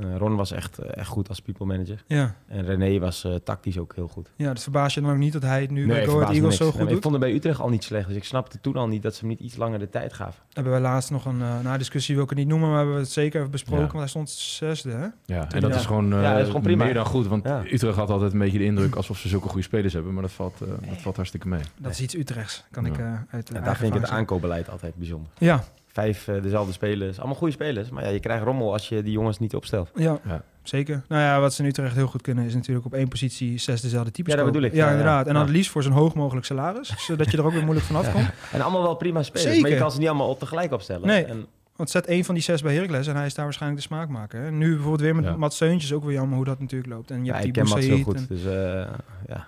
H: Eh, Ron was echt, eh, echt goed als people manager.
A: Ja.
H: En René was eh, tactisch ook heel goed.
A: ja, dus verbaas je dan ook niet dat hij het nu bij Go Ahead
H: verbaasde
A: Eagles
H: niks.
A: zo
H: Nee,
A: goed
H: maar Ik
A: doet.
H: vond hem bij Utrecht al niet slecht. Dus ik snapte toen al niet dat ze hem niet iets langer de tijd gaven.
A: Hebben wij laatst nog een eh, na discussie, wil ik het niet noemen, maar hebben we het zeker even besproken.
C: Ja.
A: Want hij stond zesde, hè?
C: Ja, en dat
A: Ja.
C: is gewoon, eh,
H: Ja, dat is gewoon prima.
C: meer dan goed. Want
H: Ja.
C: Utrecht had altijd een beetje de indruk alsof ze zulke goede spelers hebben. Maar dat valt, eh, dat valt hartstikke mee.
A: Dat is iets Utrechts, kan ik
C: Ja.
A: eh uit
H: En
A: eigen
H: daar vind ik het
A: ervaring
H: aankoopbeleid altijd bijzonder.
A: zeggen.
H: Vijf eh, dezelfde spelers. Allemaal goede spelers. Maar ja, je krijgt rommel als je die jongens niet opstelt.
A: Ja, ja,
C: Ja.
A: zeker. Nou ja, wat ze in Utrecht heel goed kunnen is natuurlijk op één positie zes dezelfde types
H: Ja, dat
A: kopen.
H: bedoel ik.
A: Ja,
H: Ja, ja.
A: inderdaad. En dan
H: Ja.
A: het liefst voor zo'n hoog mogelijk salaris, zodat je er ook weer moeilijk vanaf komt.
H: En allemaal wel prima spelers. Maar je
A: Zeker.
H: kan ze niet allemaal op tegelijk opstellen.
A: Nee.
H: En,
A: Want zet één van die zes bij Heracles en hij is daar waarschijnlijk de smaakmaker. En nu bijvoorbeeld weer met
C: Ja.
A: Mats Seuntjes, ook weer jammer hoe dat natuurlijk loopt. En je
H: ja,
A: hebt
H: ik
A: die
H: ken Mats heel
A: Boussaïd.
H: goed.
A: Geweldig
H: Dus eh, ja.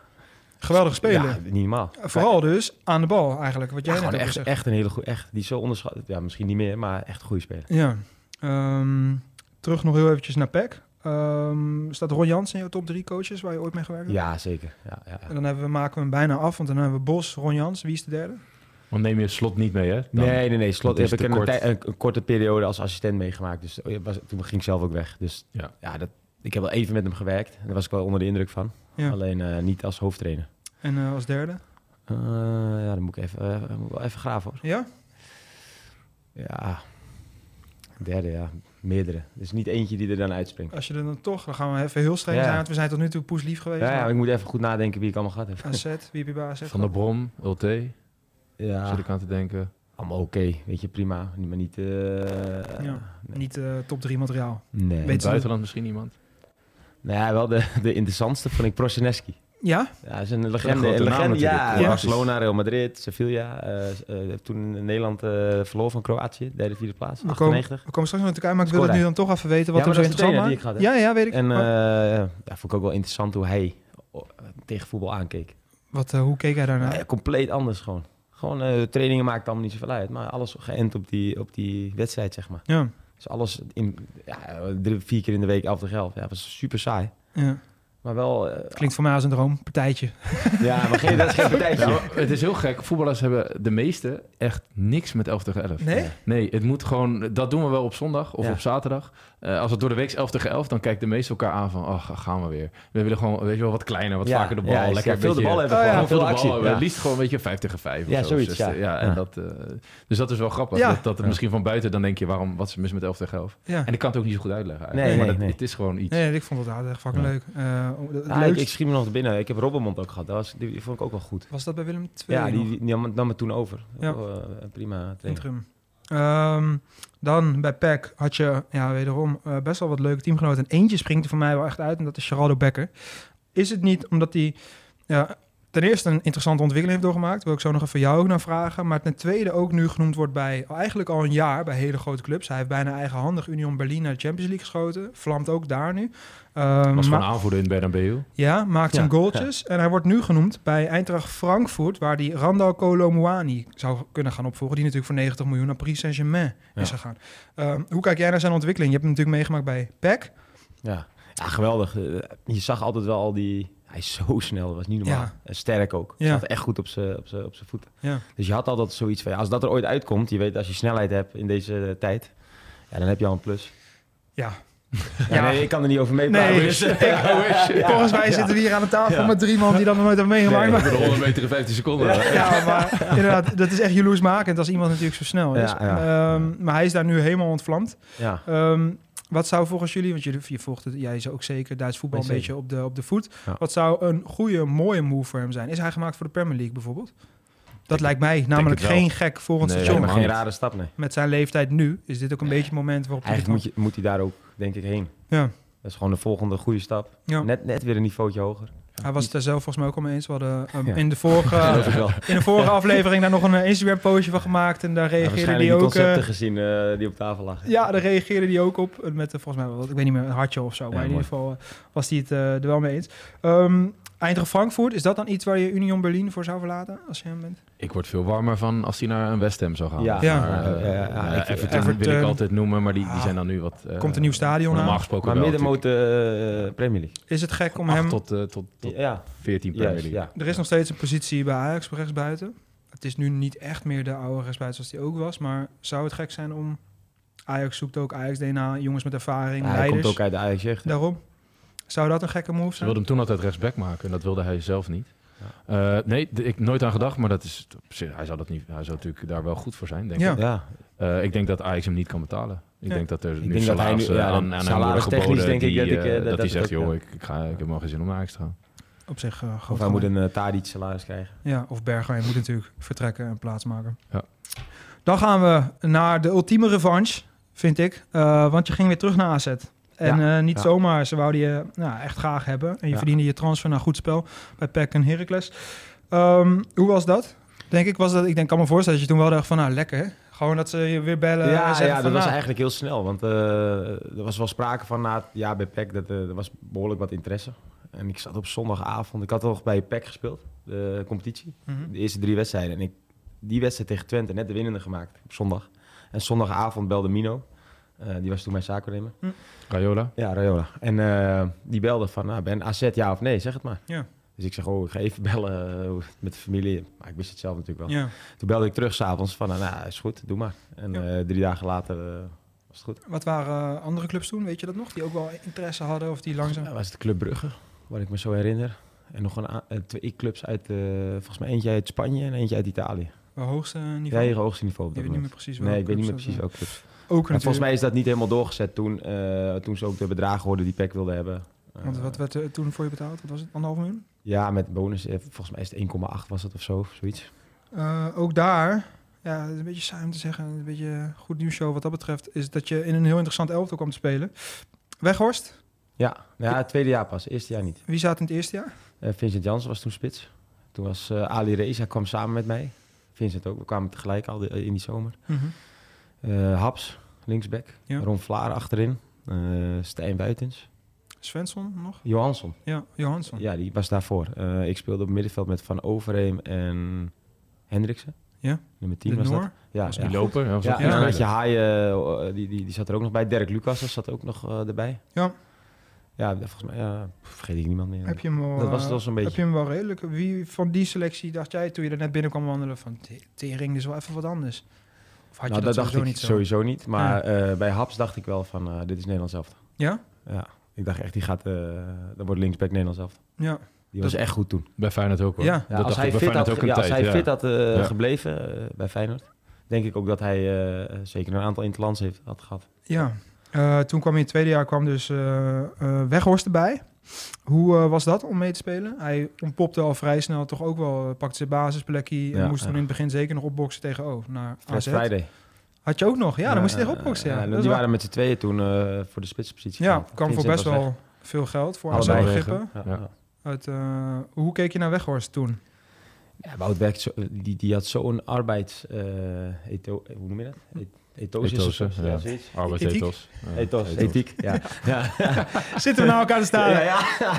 A: Geweldige speler.
H: Ja, niet normaal.
A: Vooral dus aan de bal eigenlijk, wat
H: Ja,
A: jij net
H: gewoon
A: ook
H: echt,
A: zegt.
H: echt een hele goede, echt, die is zo onderschat. Ja, misschien niet meer, maar echt een goede speler.
A: Ja. Ehm, terug nog heel eventjes naar PEC. Ehm, staat Ron Jans in jouw top drie coaches waar je ooit mee gewerkt hebt?
H: Ja, zeker. Ja, ja, ja.
A: En dan hebben we, maken we hem bijna af, want dan hebben we Bos, Ron Jans. Wie is de derde?
C: Want neem je slot niet mee, hè? Dan-
H: Nee, nee, nee. Slot
C: dat is
H: heb ik
C: te
H: een,
C: kort.
H: tij- een, een korte periode als assistent meegemaakt. Dus oh, ja, was, toen ging ik zelf ook weg. Dus
C: Ja.
H: ja, dat, ik heb wel even met hem gewerkt. En daar was ik wel onder de indruk van.
A: Ja.
H: Alleen eh, niet als hoofdtrainer.
A: En eh, als derde?
H: Eh, ja, dan moet ik even, eh, moet ik wel even graven hoor.
A: Ja?
H: Ja, derde, ja. Meerdere. Dus niet eentje die er dan uitspringt.
A: Als je er dan toch, dan gaan we even heel streng
H: Ja.
A: zijn, want we zijn tot nu toe poeslief geweest.
H: Ja, ja, maar
A: maar
H: ik moet even goed nadenken wie ik allemaal gehad heb.
A: AZ, wie heb je bij AZ?
C: Van der Brom, Ulte,
H: Ja,
C: zit ik aan te denken.
H: allemaal oké. Weet je, prima. Maar niet... eh,
A: Ja. Niet eh, top 3 materiaal.
H: Nee.
A: Weet-
C: Buitenland misschien iemand?
H: Nou ja, wel de, de interessantste vond ik Prozineski.
A: Ja?
H: Ja, hij is een
C: Een
H: legende.
C: grote
H: Een
C: naam
H: legende ja,
C: natuurlijk. Ja.
H: Barcelona, Real Madrid, Sevilla. eh, eh, toen in Nederland eh verloor van Kroatië, derde, vierde plaats,
A: We komen,
H: 98.
A: we komen straks nog natuurlijk uit, maar ik wil
H: Scoorde
A: het nu
H: hij.
A: dan toch even weten wat
H: Ja,
A: hem
H: maar
A: zo
H: dat is de
A: interessant maakt.
H: trainer die ik
A: ja, ja, weet ik.
H: En eh
A: Maar
H: ja, vond ik ook wel interessant hoe hij oh, tegen voetbal aankeek.
A: wat, eh, hoe keek hij daarna?
H: Ja, compleet anders gewoon. Gewoon eh, trainingen maakt allemaal niet zoveel uit, maar alles geënt op die, op die wedstrijd, zeg maar.
A: Ja.
H: Dus alles in, ja, drie, vier keer in de week, elf tegen elf. Ja, was super saai.
A: ja.
H: Maar wel... eh,
A: Klinkt voor mij als een droom. Partijtje.
H: ja, maar geen, dat is geen partijtje.
C: Ja, maar het is heel gek. Voetballers hebben de meeste echt niks met 11 tegen 11.
A: Nee?
C: Nee, het moet gewoon... Dat doen we wel op zondag of
H: Ja.
C: op zaterdag. Eh, als het door de week is 11 tegen 11, dan kijken de meesten elkaar aan van... Ach, gaan we weer. We willen gewoon, weet je wel, wat kleiner, wat
H: Ja,
C: vaker de bal.
H: ja,
C: lekker een
H: veel de
C: beetje-
H: bal hebben.
A: Oh ja,
H: gewoon,
C: Gewoon veel de
H: actie.
C: bal hebben.
H: Ja.
C: Het liefst gewoon, weet je, 5 tegen 5.
H: Ja,
C: of zo,
H: zoiets,
C: 60.
H: ja.
C: en
H: Ja.
C: Dat, eh, dus dat is wel grappig.
A: Ja.
C: Dat, dat het misschien van buiten dan denk je, waarom, wat is er mis met 11 tegen 11?
A: Ja.
C: En ik kan het ook niet zo goed uitleggen
H: Nee,
C: eigenlijk. maar
H: nee,
C: dat-
H: nee.
C: het is gewoon iets.
A: Nee, ik vond het aardig. Fucking
C: Ja.
A: leuk. Eh, om- het
H: Ja, ik,
A: leukste-
H: ik schiet me nog te binnen. Ik heb Robbenmond ook gehad. Dat was, die, die vond ik ook wel goed.
A: was dat bij Willem II?
H: Ja, die,
A: nog?
H: die nam, nam het toen over.
A: Ja.
H: Oh, eh, prima trainer.
A: Interim. Ehm, dan bij PEC had je ja, wederom eh, best wel wat leuke teamgenoten. En eentje springt er voor mij wel echt uit en dat is Geraldo Becker. Is het niet omdat hij ja, ten eerste een interessante ontwikkeling heeft doorgemaakt... wil ik zo nog even jou ook naar vragen. Maar ten tweede ook nu genoemd wordt bij eigenlijk al een jaar bij hele grote clubs. Hij heeft bijna eigenhandig Union Berlin naar de Champions League geschoten. Vlamt ook daar nu. Ehm,
C: was
A: maar-
C: gewoon aanvoerder in Bernabeu.
A: ja, maakt zijn
H: Ja,
A: goaltjes. En hij wordt nu genoemd bij Eintracht Frankfurt... waar die Randal Kolomouani zou kunnen gaan opvolgen... die natuurlijk voor 90 miljoen naar Paris Saint-Germain is gegaan. Ehm, hoe kijk jij naar zijn ontwikkeling? Je hebt hem natuurlijk meegemaakt bij E PEC.
H: Ja. ja, geweldig. Eh, Je zag altijd wel al die... Hij is zo snel, dat was niet normaal.
A: Ja.
H: En sterk ook.
A: Ja.
H: Hij Zat echt goed op zijn op zijn- op zijn voeten.
A: Ja.
H: Dus je had altijd zoiets van... Ja, als dat er ooit uitkomt, je weet als je snelheid hebt in deze eh, tijd... Ja, dan heb je al een plus.
A: Ja.
H: Ja,
A: Ja.
H: Nee, ik kan er niet over meepraten.
A: Nee,
H: dus-
A: ik- volgens mij zitten we hier aan de tafel met drie man... die dat nog nooit hebben meegemaakt.
H: Nee.
C: Voor de 100 meter in 15 seconden.
A: Maar- Ja, maar inderdaad, dat is echt jaloersmakend... als iemand natuurlijk zo snel is.
H: Ja, ja.
A: Ehm, maar hij is daar nu helemaal ontvlamd.
H: ja.
A: Ehm, wat zou volgens jullie, want jullie, je volgt het, jij is ook zeker Duits voetbal een
H: Zeker.
A: beetje op de, op de voet.
H: Ja.
A: Wat zou een goede, mooie move voor hem zijn? Is hij gemaakt voor de Premier League bijvoorbeeld? Dat lijkt mij namelijk
C: het wel.
A: geen gek volgend
C: Nee,
A: station.
H: Lijkt me
C: helemaal
H: geen
C: niet.
H: rare stap, nee.
A: Met zijn leeftijd nu is dit ook een beetje het moment waarop hij
H: Eigenlijk moet, je, moet hij daar ook, denk ik, heen.
A: Ja.
H: Dat is gewoon de volgende goede stap.
A: Ja.
H: Net, net weer een niveautje hoger.
A: Hij was het er zelf volgens mij ook al mee eens. We hadden ehm,
H: Ja.
A: in de vorige,
H: Dat is wel.
A: in de vorige aflevering daar nog een Instagram-postje van gemaakt. En daar
H: Ja,
A: reageerde
H: waarschijnlijk
A: hij
H: die
A: ook... eh,
H: concepten gezien eh, die op tafel lagen.
A: ja, daar reageerde hij ook op. eh, Met eh, volgens mij, wel, ik weet niet meer, een hartje of zo. maar in
C: mooi.
A: ieder geval eh, was hij het eh, er wel mee eens. Ehm Eindracht Frankfurt, is dat dan iets waar je Union Berlin voor zou verlaten als je hem bent?
H: Eh,
C: Ik word veel warmer van als hij naar een West Ham zou gaan.
H: Ja.
A: Ja.
C: Maar, eh,
H: Ja, ja, ja, ik-
C: eh, Everton wil
A: Everton.
C: ik altijd noemen, maar die, die
A: Ah.
C: zijn dan nu wat... eh,
A: Komt een nieuw stadion
C: Normaal
A: aan?
C: gesproken
H: Maar
C: wel
H: middenmoot eh Premier League.
A: Is het gek om
C: natuurlijk. Acht
A: hem...
C: tot, eh, tot, tot
H: Ja,
C: 14 Premier
H: juist,
C: League.
H: ja.
A: Er is nog steeds een positie bij Ajax voor rechtsbuiten. Het is nu niet echt meer de oude rechtsbuiten zoals die ook was. Maar zou het gek zijn om Ajax zoekt ook Ajax-DNA, jongens met ervaring,
H: hij
A: leiders.
H: komt ook uit de Ajax echt.
A: Daarom. Zou dat een gekke move
C: Ze
A: zijn?
C: wilden hem toen altijd rechtsback maken en dat wilde hij zelf niet. Eh, nee, d- ik nooit aan gedacht, maar dat is, op zich- hij, zou dat niet, hij zou natuurlijk daar wel goed voor zijn, denk
A: Ja.
C: ik.
H: Ja,
C: Eh, ik denk dat Ajax hem niet kan betalen. Ik
A: Nee.
C: denk dat er
H: denk
C: nu
H: dat hij nu-
C: salarissen
H: ja,
C: aan, aan hem worden
H: salaristechnisch
C: geboden
H: denk ik
C: die,
H: dat ik,
C: eh,
H: eh, dat-
C: dat
H: dat
C: hij
H: het
C: zegt,
H: ook,
C: joh,
H: ja.
C: ik, ik, ga, ik heb wel geen zin om naar Ajax te gaan.
A: Op zich eh
H: of
A: groot
H: hij moet
A: gelijk.
H: een eh, Tadic salaris krijgen.
A: Ja, of Bergwijn moet natuurlijk vertrekken en plaatsmaken.
C: Ja.
A: Dan gaan we naar de ultieme revanche, vind ik. Eh, want je ging weer terug naar AZ. En eh, niet
H: ja.
A: zomaar, ze wouden je nou, echt graag hebben. En je
H: Ja.
A: verdiende je transfer naar goed spel bij PEC en Heracles. Ehm, hoe was dat? Denk ik, was dat, ik denk, kan me voorstellen dat je toen wel dacht van, nou lekker hè? Gewoon dat ze je weer bellen en
H: ja,
A: zeggen
H: ja,
A: van,
H: dat was
A: nou,
H: eigenlijk heel snel. Want eh, er was wel sprake van na het jaar bij PEC, dat, eh, er was behoorlijk wat interesse. En ik zat op zondagavond, ik had nog bij PEC gespeeld, de competitie.
A: Mhm.
H: De eerste drie wedstrijden. En ik, die wedstrijd tegen Twente, net de winnende gemaakt, op zondag. En zondagavond belde Mino. Eh, die was toen mijn zaakwaarnemer.
C: Rayola?
H: Ja, Rayola. En eh, die belde van, nou, ben AZ ja of nee, zeg het maar.
A: Ja.
H: Dus ik zeg, oh, ik ga even bellen eh, met de familie. Maar ik wist het zelf natuurlijk wel.
A: Ja.
H: Toen belde ik terug s'avonds van, nou, nou, is goed, doe maar. En
A: Ja.
H: eh, drie dagen later eh, was het goed.
A: Wat waren eh, andere clubs toen, weet je dat nog? Die ook wel interesse hadden of die langzaam...
H: Ja, was het Club Brugge, waar ik me zo herinner. En nog een a- eh, twee clubs uit, eh, volgens mij eentje uit Spanje en eentje uit Italië.
A: Wel hoogste
H: Ja,
A: niveau?
H: je hoogste niveau op
A: ik
H: dat
A: weet niet meer
H: moment.
A: precies
H: Nee, ik weet niet meer
A: clubs dat waren.
H: precies welke clubs.
A: Ook
H: En volgens
A: natuurlijk.
H: mij is dat niet helemaal doorgezet toen, eh, toen ze ook de bedragen hoorden die PEC wilde hebben. Eh,
A: Want wat werd er toen voor je betaald? Wat was het? Anderhalf miljoen?
H: Ja, met bonus. eh, Volgens mij is het 1,8 was het of zo, of zoiets.
A: Eh, ook daar, ja, het is een beetje saai om te zeggen, een beetje eh, goed nieuws show wat dat betreft, is dat je in een heel interessant elftal kwam te spelen. Weghorst,
H: Ja, nou ja, het tweede jaar pas. Eerste jaar niet.
A: wie zat in het eerste jaar?
H: Eh, Vincent Jansen was toen spits. Toen was eh, Ali Reza kwam samen met mij. Vincent ook. We kwamen tegelijk al die- eh, in die zomer.
A: Mhm.
H: Eh, Haps, linksback.
A: Ja.
H: Ron Vlaar achterin. Eh, Stijn Buitens.
A: Svensson nog?
H: Johansson.
A: Ja, Johansson.
H: Ja, die was daarvoor. Eh, ik speelde op middenveld met Van Overheem en Hendriksen.
A: Ja.
H: Nummer 10
A: de
H: was
A: Noor.
H: dat. Ja,
C: Was
H: ja.
C: die loper? Ja, was
H: Ja,
C: dat
A: Ja.
H: en dan
C: een
H: had je
C: speler?
H: Haaien, eh, die, die, die zat er ook nog bij. Dirk Lucas zat ook nog eh, erbij.
A: Ja.
H: Ja, volgens mij ja, vergeet ik niemand meer.
A: Heb je hem wel,
H: dat was
A: eh,
H: het wel zo'n
A: Heb je
H: beetje.
A: hem wel redelijk? Wie van die selectie dacht jij toen je er net binnen kwam wandelen van "Te- tering, dit is wel even wat anders? Of had
H: Nou,
A: je
H: dat
A: dat,
H: dacht
A: sowieso
H: ik
A: niet zo?
H: sowieso niet. Maar eh, bij Haps dacht ik wel van, eh, dit is Nederlands elftal.
A: Ja?
H: Ja, ik dacht echt, die gaat, eh dat wordt linksback Nederlands elftal.
A: Ja.
H: Die was
A: Dat-
H: echt goed toen.
C: Bij Feyenoord ook hoor.
A: Ja. Ja,
C: dat dacht ik bij Feyenoord ook een
H: ja, als
C: tijd.
H: hij
C: ja.
H: fit had eh,
C: Ja.
H: gebleven eh, bij Feyenoord, denk ik ook dat hij eh, zeker een aantal interlands heeft, had gehad.
A: Ja, eh, toen kwam je in het tweede jaar kwam dus eh, eh, Weghorst erbij. Hoe eh, was dat om mee te spelen? Hij ontpopte al vrij snel toch ook wel, eh, pakte zijn basisplekje en
H: Ja,
A: moest toen
H: ja.
A: in het begin zeker nog opboksen tegen O naar
H: Fred
A: AZ.
H: Friday.
A: Had je ook nog? Ja, dan moest je
H: eh,
A: tegen opboksen. Ja,
H: eh,
A: Dat is
H: die
A: wel-
H: waren met z'n tweeën toen eh, voor de spitspositie.
A: ja
H: gehaald.
A: kwam voor
H: Vincent
A: best
H: was
A: wel
H: weg.
A: veel geld voor aan
H: Allebei
A: zijn
H: weg,
A: begrippen.
H: hè?
C: Ja.
H: ja.
A: Uit, eh, hoe keek je naar Weghorst toen?
H: Ja, Wout werkt zo, eh, die, die had zo'n arbeids... eh, etho- hoe noem je dat? E- Ethos. of zo.
C: Ethos, hè? Ja.
H: zoiets.
C: Arbeidsethos. Ja.
H: Ethos, ethiek, ja. ja.
A: Zitten we
H: nou
A: naar elkaar te staan?
H: ja, ja.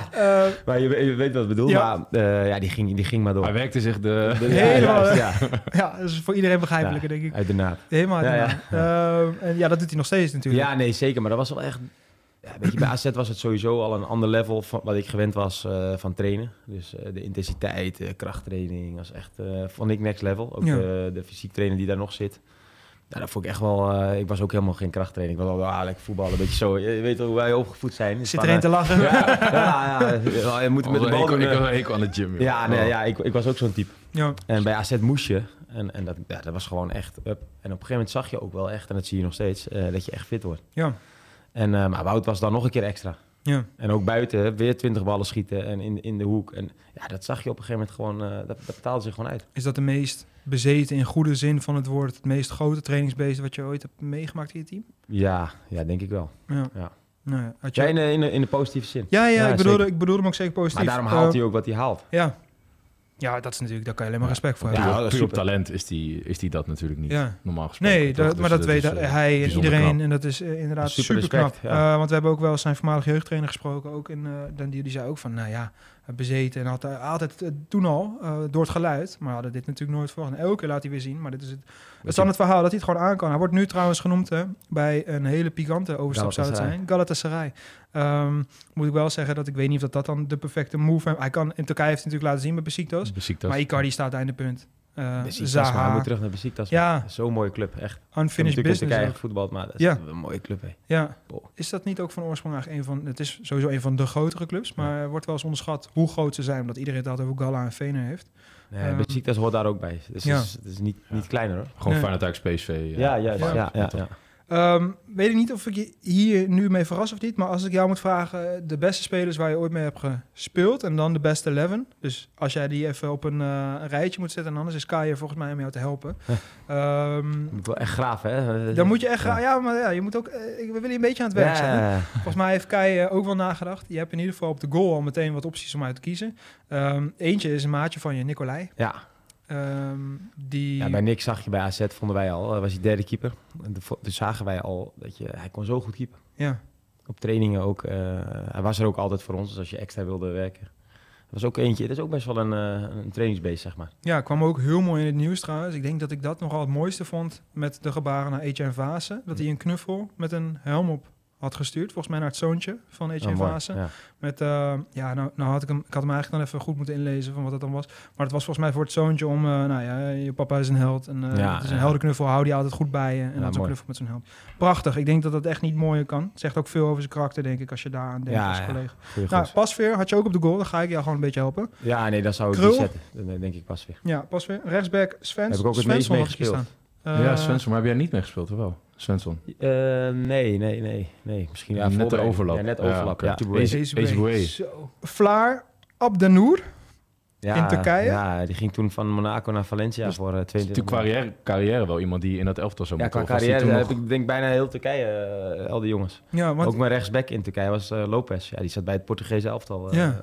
A: Eh,
H: Maar je, je weet wat ik bedoel,
A: Ja.
H: maar eh, ja, die, ging, die ging maar door.
C: Hij werkte zich de...
H: Ja,
A: Helemaal,
H: ja,
A: hè?
H: ja,
A: ja, dat is voor iedereen begrijpelijker, denk ik.
H: uit de naad.
A: Helemaal.
H: Ja,
A: Ja,
H: ja.
A: Eh, en ja, dat doet hij nog steeds natuurlijk.
H: Ja, nee, zeker. Maar dat was wel echt... Ja, weet je, bij AZ was het sowieso al een ander level van wat ik gewend was eh, van trainen. Dus eh, de intensiteit, eh, krachttraining, was echt, eh, vond ik next level. Ook eh,
A: Ja.
H: de, de fysiek trainer die daar nog zit. Ja, dat vond ik echt wel... eh, ik was ook helemaal geen krachttrainer. Ik was al ah, lekker voetballen, een beetje zo. Je, je weet wel hoe wij opgevoed zijn. Dus
A: Zit
H: van,
A: er een
H: eh,
A: te lachen?
H: Ja, ja, ja, je moet
C: Oh,
H: met de
C: ik-
H: bal
C: ik-
H: doen.
C: Ik
H: eh.
C: had een hekel aan de gym. joh.
H: Ja, nee,
C: Oh.
H: ja ik, ik was ook zo'n type.
A: Ja.
H: En bij AZ moest je. En, en dat, ja, dat was gewoon echt up. En op een gegeven moment zag je ook wel echt, en dat zie je nog steeds, eh, dat je echt fit wordt.
A: Ja.
H: En, eh, maar Wout was dan nog een keer extra.
A: Ja.
H: En ook buiten, weer 20 ballen schieten en in, in de hoek. En ja, dat zag je op een gegeven moment gewoon, eh, dat, dat betaalde zich gewoon uit.
A: Is dat de meest bezeten in goede zin van het woord, het meest grote trainingsbeest wat je ooit hebt meegemaakt in je team?
H: Ja, ja denk ik wel.
A: Ja.
H: Ja.
A: Nou ja, had
H: Jij in,
A: je...
H: de- in, de- in de positieve zin.
A: ja, ja,
H: Ja,
A: ik, bedoelde,
H: zeker.
A: ik bedoelde hem ook zeker positief.
H: Maar daarom
A: Eh,
H: haalt hij ook wat hij haalt.
A: Ja. ja, dat is natuurlijk, daar kan je alleen maar respect voor
H: Ja,
A: hebben.
H: dat
C: Puur,
H: is
C: puur op
H: super.
C: talent is die, is die dat natuurlijk niet.
A: Ja.
C: Normaal gesproken.
A: Nee,
C: toch?
A: dat, maar
C: Dus
A: dat weet
C: is, eh,
A: hij en
C: bijzonder
A: iedereen.
C: knap.
A: En dat is eh, inderdaad super,
H: Super
A: knap.
H: respect, ja.
A: Eh, want we hebben ook wel zijn voormalige jeugdtrainer gesproken. Ook in, eh, dan die, die zei ook van, nou ja, bezeten. En had eh, altijd eh, toen al, eh, door het geluid. Maar we hadden dit natuurlijk nooit verwacht. En elke keer laat hij weer zien. Maar dit is het, het is dan het verhaal dat hij het gewoon aan kan. Hij wordt nu trouwens genoemd hè, bij een hele pikante overstap zou het
H: Galatasaray.
A: zijn. Galatasaray. Ehm, moet ik wel zeggen dat ik weet niet of dat, dat dan de perfecte move... Hij kan, in Turkije heeft hij natuurlijk laten zien met Besiktas.
C: Besiktas.
A: Maar Icardi staat einde punt. eh
H: Besiktas, maar hij
A: Zaha.
H: moet terug naar Besiktas.
A: Ja.
H: Zo'n mooie club, echt.
A: Unfinished
H: natuurlijk
A: business.
H: eigen
A: ook.
H: voetbal, maar dat is
A: Ja.
H: een mooie club. Hè.
A: Ja.
H: Wow.
A: Is dat niet ook van oorsprong eigenlijk een van... Het is sowieso een van de grotere clubs, maar er wordt wel eens onderschat hoe groot ze zijn. Omdat iedereen het altijd over Gala en Vener heeft.
H: Nee,
A: Ehm,
H: Besiktas hoort daar ook bij. Dus
A: ja.
H: het is, het is niet, niet kleiner hoor.
C: Gewoon
A: Nee.
C: fijn dat eigenlijk PSV.
H: Ja, juist. Ja, ja, ja,
A: Ehm, weet ik niet of ik je hier nu mee verras of niet, maar als ik jou moet vragen, eh, de beste spelers waar je ooit mee hebt gespeeld en dan de beste 11. Dus als jij die even op een eh, een rijtje moet zetten, en anders is Kai er volgens mij om jou te helpen. Ehm,
H: Moet wel echt graaf hè.
A: dan moet je echt, ja, maar ja, je moet ook, eh, ik- we willen je een beetje aan het werk zijn. Volgens mij heeft Kai eh, ook wel nagedacht. Je hebt in ieder geval op de goal al meteen wat opties om uit te kiezen. Ehm, eentje is een maatje van je, Nicolai.
H: Ja.
A: Ehm, die,
H: Ja, bij Nick zag je bij AZ, vonden wij al, eh, was hij derde keeper. En de- Toen zagen wij al dat je, hij kon zo goed keeper.
A: ja.
H: Op trainingen ook. eh, hij was er ook altijd voor ons, dus als je extra wilde werken. Er was ook eentje, dat is ook best wel een, eh, een trainingsbeest, zeg maar.
A: Ja, kwam ook heel mooi in het nieuws trouwens. Ik denk dat ik dat nogal het mooiste vond met de gebaren naar Etienne Vase. Dat hij een knuffel met een helm op had gestuurd. Volgens mij naar het zoontje van
H: Oh,
A: Etienne
H: mooi,
A: Vase.
H: ja.
A: Met, eh, ja, nou, nou had ik hem, ik had hem eigenlijk dan even goed moeten inlezen van wat dat dan was. Maar het was volgens mij voor het zoontje om, eh, nou ja, je papa is een held. En eh,
H: Ja,
A: het is een
H: ja.
A: heldenknuffel, hou die altijd goed bij je. En
H: Ja,
A: dan zo'n
H: mooi.
A: knuffel met zo'n helm. Prachtig, ik denk dat dat echt niet mooier kan. Het zegt ook veel over zijn karakter, denk ik, als je daaraan denkt
H: Ja,
A: als
H: ja.
A: collega.
H: Goeie
A: Nou,
H: gozer.
A: Pasveer had je ook op de goal, dan ga ik jou gewoon een beetje helpen.
H: ja, nee, dat zou ik
A: Krul.
H: niet zetten. Dan eh, denk ik pas weer.
A: Ja, Pasveer. Rechtsback Svens,
H: Heb ik ook het
A: Svensson
H: meest mee
A: had ik hier
H: gespeeld.
A: staan.
C: ja
A: Eh,
C: Svensson. Maar heb jij niet meegespeeld, of wel? Svensson.
H: Eh, nee, nee, nee, nee. Misschien ja,
C: Net de
H: voorbereiding.
C: overlap.
H: Ja, net
C: Ja,
H: overlap,
C: oké.
H: ja.
C: Tubuay. Ace-
A: Ace
C: Ace
A: Bray.
C: Bray.
A: Zo. Vlaar Abdenour.
H: Ja,
A: in Turkije?
H: Ja, die ging toen van Monaco naar Valencia voor eh, 22
C: Toen carrière, carrière wel iemand die in dat elftal zou
H: Ja,
C: moeten.
H: qua
C: of was die
H: carrière
C: toen
H: heb
C: nog-
H: ik denk bijna heel Turkije, eh, al die jongens.
A: Ja, want
H: Ook mijn rechtsback in Turkije was eh, Lopez. Ja, die zat bij het Portugese elftal eh,
A: Ja.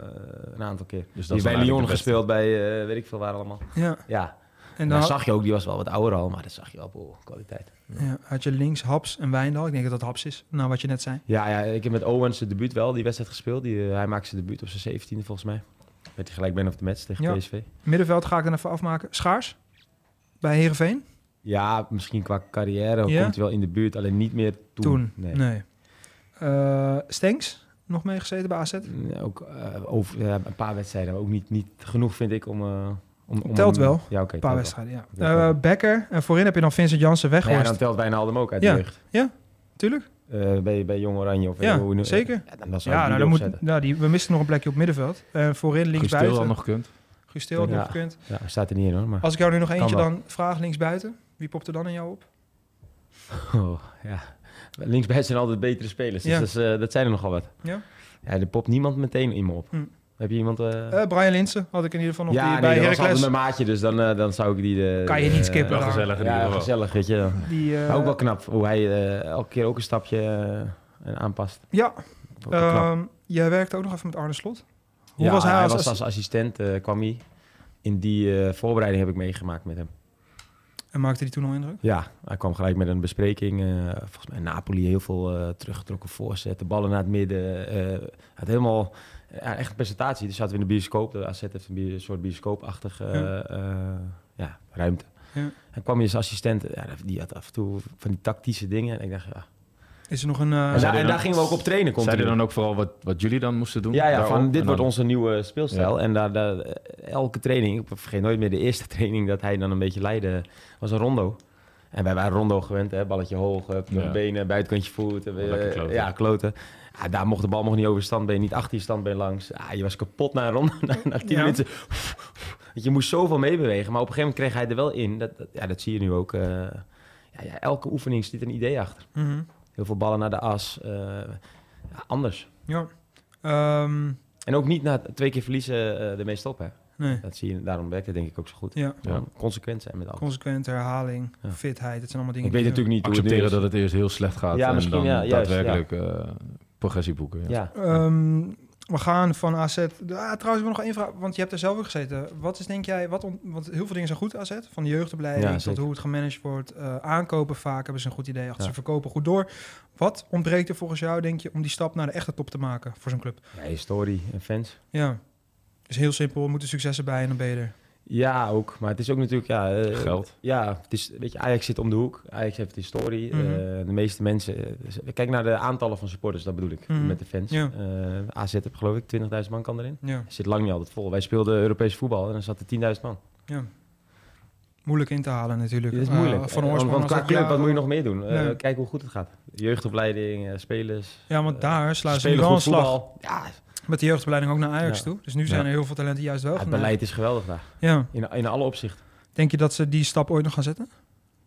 H: een aantal keer.
C: Dus is
H: die Dus is
C: dan
H: bij Lyon
C: eigenlijk de beste.
H: gespeeld, bij eh, weet ik veel waar allemaal.
A: ja,
H: Ja,
A: en
H: en
A: dan
H: dan
A: had,
H: zag je ook, die was wel wat ouder al, maar dat zag je wel, boh, kwaliteit.
A: ja, had je links Haps en Wijndal. Ik denk dat dat Haps is, nou wat je net zei.
H: Ja, ja, ik heb met Owens zijn debuut wel, die wedstrijd gespeeld. Die, eh, hij maakte zijn debuut op zijn 17e volgens mij. Werd hij gelijk man of the match tegen
A: Ja.
H: PSV.
A: Middenveld ga ik dan even afmaken. Schaars bij Heerenveen.
H: Ja, misschien qua carrière
A: Ja.
H: komt hij wel in de buurt, alleen niet meer toen.
A: Toen, nee.
H: Nee.
A: Eh, Stenks, nog meegezeten bij AZ.
H: Ja, Ook eh, over, ja, een paar wedstrijden, maar ook niet, niet genoeg vind ik om... eh, om, om
A: Telt wel.
H: Ja, oké.
A: Een
H: telt
A: paar
H: wel.
A: wedstrijden, ja.
H: Dat wel.
A: Eh, Becker, en voorin heb je dan Vincent Jansen
H: Maar Ja,
A: weggehorst.
H: dan telt Wijnaldum ook uit
A: Ja.
H: de jeugd.
A: Tuurlijk,
H: Eh, bij, bij Jong Oranje of
A: ja,
H: hoe nu-
A: zeker.
H: Ja, dan zou
A: Ja, nou,
H: ik die
A: dan
H: erop
A: moet,
H: zetten.
A: nou die, we misten nog een plekje op middenveld. En voorin links
C: Gustil dan
A: buiten.
C: nog kunt.
A: Gustil had
H: Ja.
A: nog gekund.
H: Ja, hij staat er niet in hoor, maar
A: Als ik jou nu nog eentje
H: wel.
A: dan vraag links buiten, wie popt er dan in jou op?
H: oh, ja. linksbij zijn altijd betere spelers, dus
A: Ja.
H: dat, is, eh, dat zijn er nogal wat.
A: Ja.
H: Ja, er popt niemand meteen in me op.
A: Hm.
H: Heb je iemand... eh,
A: Eh, Brian Linsen had ik in ieder geval nog
H: ja,
A: die
H: nee,
A: bij
H: dat was altijd
A: Heracles.
H: mijn maatje, dus dan, eh, dan zou ik die... De,
A: Kan je niet
H: eh,
A: skippen.
C: Wel
A: Ja.
C: gezellig in ieder
H: ja,
C: geval.
H: gezellig, weet je. wel.
A: Die, eh,
H: Maar ook wel knap hoe hij eh, elke keer ook een stapje eh, aanpast.
A: Ja,
H: Ook wel knap.
A: ehm, jij werkte ook nog even met Arne Slot. Hoe
H: Ja,
A: was hij, als,
H: was als assistent, eh, kwam hij. In die eh, voorbereiding heb ik meegemaakt met hem.
A: En maakte die toen al indruk?
H: Ja, hij kwam gelijk met een bespreking. eh, volgens mij Napoli heel veel eh, teruggetrokken voorzetten, ballen naar het midden. eh had helemaal ja, echt een presentatie. Dus zaten we in de bioscoop. De AZ heeft een bi- soort bioscoopachtige eh,
A: Ja.
H: eh, ja, ruimte.
A: Ja.
H: En kwam je als assistent, ja, die had af en toe van die tactische dingen. En ik dacht,
A: Ah.
H: ja.
A: Is er nog een... eh,
H: En, daar-
C: dan
H: en daar
C: ook-
H: gingen we ook op trainen. Komt
C: Zeiden
H: hij.
C: dan ook vooral wat, wat jullie dan moesten doen?
H: Ja, ja
C: daarop?
H: van dit
C: En
H: wordt
C: dan-
H: onze nieuwe speelstijl. En daar, daar, elke training, ik vergeet nooit meer de eerste training dat hij dan een beetje leidde, was een rondo. En wij waren rondo gewend, hè? balletje hoog, hup,
C: Ja.
H: benen, buitenkantje voet. eh,
C: Lekker kloten.
H: Ja, kloten. Ja, daar mocht de bal nog niet over standbeen, niet achter je standbeen langs. Ah, je was kapot na een ronde, na, na tien
A: Ja.
H: minuten. Want je moest zoveel meebewegen, maar op een gegeven moment kreeg hij er wel in. Dat, dat- ja, dat zie je nu ook. eh, ja, ja, elke oefening zit een idee achter.
A: mhm,
H: Heel veel ballen naar de as. eh, ja, anders.
A: ja. Ehm,
H: En ook niet na twee keer verliezen eh, ermee stoppen. Hè?
A: nee,
H: Dat zie je, daarom werkt het denk ik ook zo goed.
A: ja.
C: Ja.
H: Consequent zijn met alles.
A: Consequente herhaling,
H: Ja.
A: fitheid, dat zijn allemaal dingen
H: ik weet
A: die-
H: natuurlijk niet hoe het nu
C: Accepteren
H: is.
C: dat het eerst heel slecht gaat
H: dus. Ja,
C: en
H: misschien,
C: dan
H: ja, juist,
C: daadwerkelijk eh, progressie boeken. Ja.
H: Ja.
A: Ehm, we gaan van AZ... Ah, trouwens, ik wil nog één vraag, want je hebt er zelf ook gezeten. Wat is, denk jij... Wat on- want heel veel dingen zijn goed, AZ. Van de
H: Ja,
A: jeugdopleiding tot
H: zeker.
A: hoe het gemanaged wordt. eh, aankopen vaak hebben ze een goed idee achter.
H: Ja.
A: Ze verkopen goed door. Wat ontbreekt er volgens jou, denk je, om die stap naar de echte top te maken voor zo'n club?
H: Ja, historie en fans.
A: Ja. Dus heel simpel, er moeten successen bij en dan ben je er.
H: Ja, ook. Maar het is ook natuurlijk... Ja, eh,
C: Geld.
H: Ja, het is, weet je, Ajax zit om de hoek. Ajax heeft historie.
A: Mhm.
H: Eh, de meeste mensen... eh, ze- kijk naar de aantallen van supporters, dat bedoel ik.
A: Mhm.
H: Met de fans.
A: Ja.
H: Eh, AZ heb geloof ik 20.000 man kan erin.
A: Ja.
H: Het zit lang niet altijd vol. Wij speelden Europees voetbal en dan zaten 10.000 man.
A: Ja. moeilijk in te halen natuurlijk.
H: Dit is
A: Eh,
H: moeilijk.
A: van
H: Eh,
A: oorsprong
H: want
A: als
H: qua
A: dat-
H: club,
A: ja,
H: wat moet je nog meer doen? Eh,
A: Nee.
H: Kijken hoe goed het gaat. Jeugdopleiding, eh, spelers.
A: Ja, want daar slaan ze nu
H: spelen
A: wel een
H: goed
A: slag
H: voetbal. Ja,
A: met de jeugdopleiding ook naar Ajax
H: Ja.
A: toe. Dus nu
H: Ja.
A: zijn er heel veel talenten juist wel.
H: het
A: geneigd.
H: beleid is geweldig daar.
A: Ja.
H: In, in alle opzichten.
A: Denk je dat ze die stap ooit nog gaan zetten?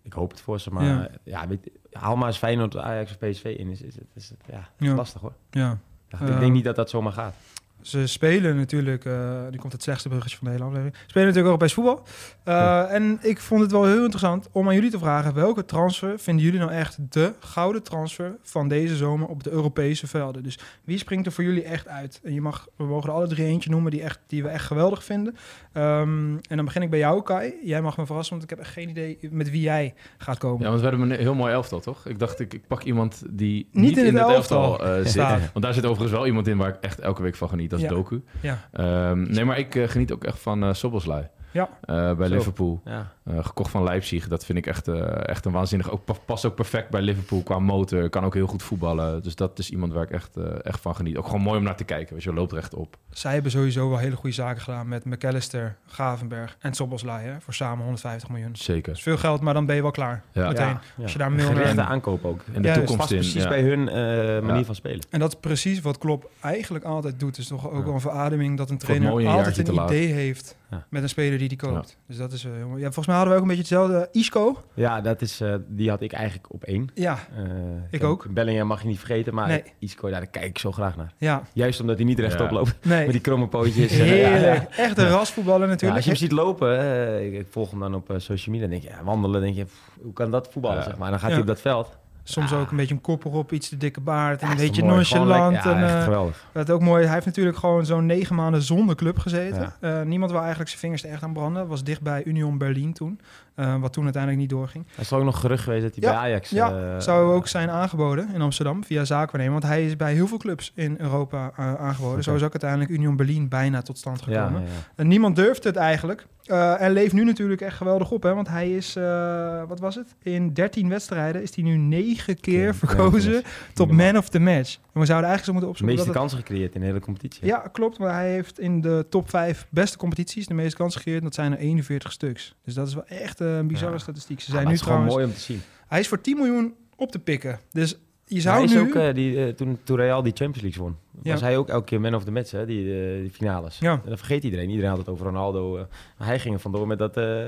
H: Ik hoop het voor ze, maar
A: Ja.
H: ja. weet, haal maar eens Feyenoord, Ajax of PSV in. Is, is, is, is- ja, is
A: Ja.
H: lastig hoor.
A: Ja.
H: Ja,
A: Eh,
H: ik denk niet dat dat zomaar gaat.
A: Ze spelen natuurlijk, eh nu komt het slechtste bruggetje van de hele aflevering, Ze spelen natuurlijk Europees voetbal. Eh, En ik vond het wel heel interessant om aan jullie te vragen, welke transfer vinden jullie nou echt de gouden transfer van deze zomer op de Europese velden? Dus wie springt er voor jullie echt uit? En je mag, we mogen er alle drie eentje noemen die, echt, die we echt geweldig vinden. Ehm, en dan begin ik bij jou, Kai. Jij mag me verrassen, want ik heb echt geen idee met wie jij gaat komen.
C: Ja, want we hebben een heel mooi elftal, toch? Ik dacht, ik, ik pak iemand die
A: Niet
C: niet,
A: in
C: in,
A: het
C: het elftal,
A: elftal
C: eh, zit.
A: staat.
C: Want daar zit overigens wel iemand in waar ik echt elke week van geniet. Dat is
A: Ja.
C: Doku.
A: Ja.
C: Ehm, nee, maar ik eh, geniet ook echt van eh Soboslai.
A: Ja.
C: Eh, bij
H: Zo.
C: Liverpool.
H: Ja.
C: Eh, gekocht van Leipzig. Dat vind ik echt, eh, echt een waanzinnig. Ook, pa- past ook perfect bij Liverpool qua motor. Kan ook heel goed voetballen. Dus dat is iemand waar ik echt, eh, echt van geniet. Ook gewoon mooi om naar te kijken. Weet je, wel, loopt rechtop.
A: Zij hebben sowieso wel hele goede zaken gedaan met McAllister, Gavenberg en Soboslai hè, voor samen 150 miljoen. Dat
C: Zeker.
A: is veel geld, maar dan ben je wel klaar.
C: Ja.
A: Meteen.
H: Ja, ja.
A: Als je daar Milner-
H: Gerichte aankoop ook.
C: En de
A: Ja, dus
C: toekomst
H: Past
C: in.
H: precies
C: ja.
H: bij hun eh, manier
C: Ja.
H: van spelen.
A: En dat is precies wat Klopp eigenlijk altijd doet. Het is toch ook
C: Ja.
A: wel een verademing dat een
C: Voor het
A: trainer
C: mooie
A: altijd
C: jaartje
A: een
C: te laat.
A: idee heeft
H: Ja.
A: met een speler die die koopt. Dus dat is eh, heel mooi. Ja, volgens mij hadden we ook een beetje hetzelfde. Eh, Isco?
H: Ja, dat is, eh, die had ik eigenlijk op één.
A: Ja,
H: Eh,
A: Ik
H: ja,
A: ook.
H: Bellingham mag je niet vergeten, maar
A: Nee.
H: Isco, ja, daar kijk ik zo graag naar.
A: ja,
H: Juist omdat hij niet rechtop
C: Ja.
H: loopt, met
A: nee.
H: die kromme pootjes. en, eh, ja, ja.
A: Heerlijk. Echt een rasvoetballer
H: Ja,
A: natuurlijk.
H: als je hem ziet lopen, eh, ik, ik volg hem dan op eh, social media, dan denk je, ja, wandelen, denk je, pff, hoe kan dat voetballen,
C: Ja.
H: zeg maar. En dan gaat
A: Ja.
H: hij op dat veld.
A: Soms ook een beetje een kopper op, iets te dikke baard. En
H: Ja,
A: een
H: is
A: beetje
H: toch mooi. Gewoon
A: nonchalant.
H: lekker-
A: en,
H: Ja, echt
A: eh,
H: geweldig.
A: Dat ook mooi. Hij heeft natuurlijk gewoon zo'n negen maanden zonder club gezeten.
H: Ja.
A: Eh, niemand wil eigenlijk zijn vingers er echt aan branden. Was dicht bij Union Berlin toen. eh, wat toen uiteindelijk niet doorging.
H: Hij is ook nog gerucht geweest dat hij
A: Ja,
H: bij Ajax...
A: ja,
H: eh,
A: zou ook zijn aangeboden in Amsterdam via zaakwaarnemer. Want hij is bij heel veel clubs in Europa eh, aangeboden. Zo is ook uiteindelijk Union Berlin bijna tot stand
H: ja,
A: gekomen.
H: ja, ja.
A: En niemand durft het eigenlijk. Eh, en leeft nu natuurlijk echt geweldig op. Hè? Want hij is, eh, wat was het? In 13 wedstrijden is hij nu negen keer
H: Ja,
A: verkozen
H: dat is
A: tot
H: niet normaal.
A: man of the match. En we zouden eigenlijk zo moeten
H: De
A: opzoeken.
H: meeste
A: dat het-
H: kansen gecreëerd in de hele competitie.
A: ja, klopt. Maar hij heeft in de top 5 beste competities de meeste kansen gecreëerd. en Dat zijn er 41 stuks. Dus dat is wel echt eh, een bizarre
H: Ja.
A: statistiek. Ze
H: Ja, maar
A: zijn
H: het
A: nu
H: is gewoon
A: trouwens...
H: mooi om te zien.
A: Hij is voor 10 miljoen op te pikken. Dus je
H: Maar
A: zou
H: hij is
A: nu...
H: ook, eh, die, eh, toen, toen Real die Champions League won,
A: Ja.
H: was hij ook elke keer man of the match, hè, die, eh, die finales.
A: Ja.
H: En dat vergeet iedereen. Iedereen had het over Ronaldo. eh, maar hij ging er vandoor met dat... eh,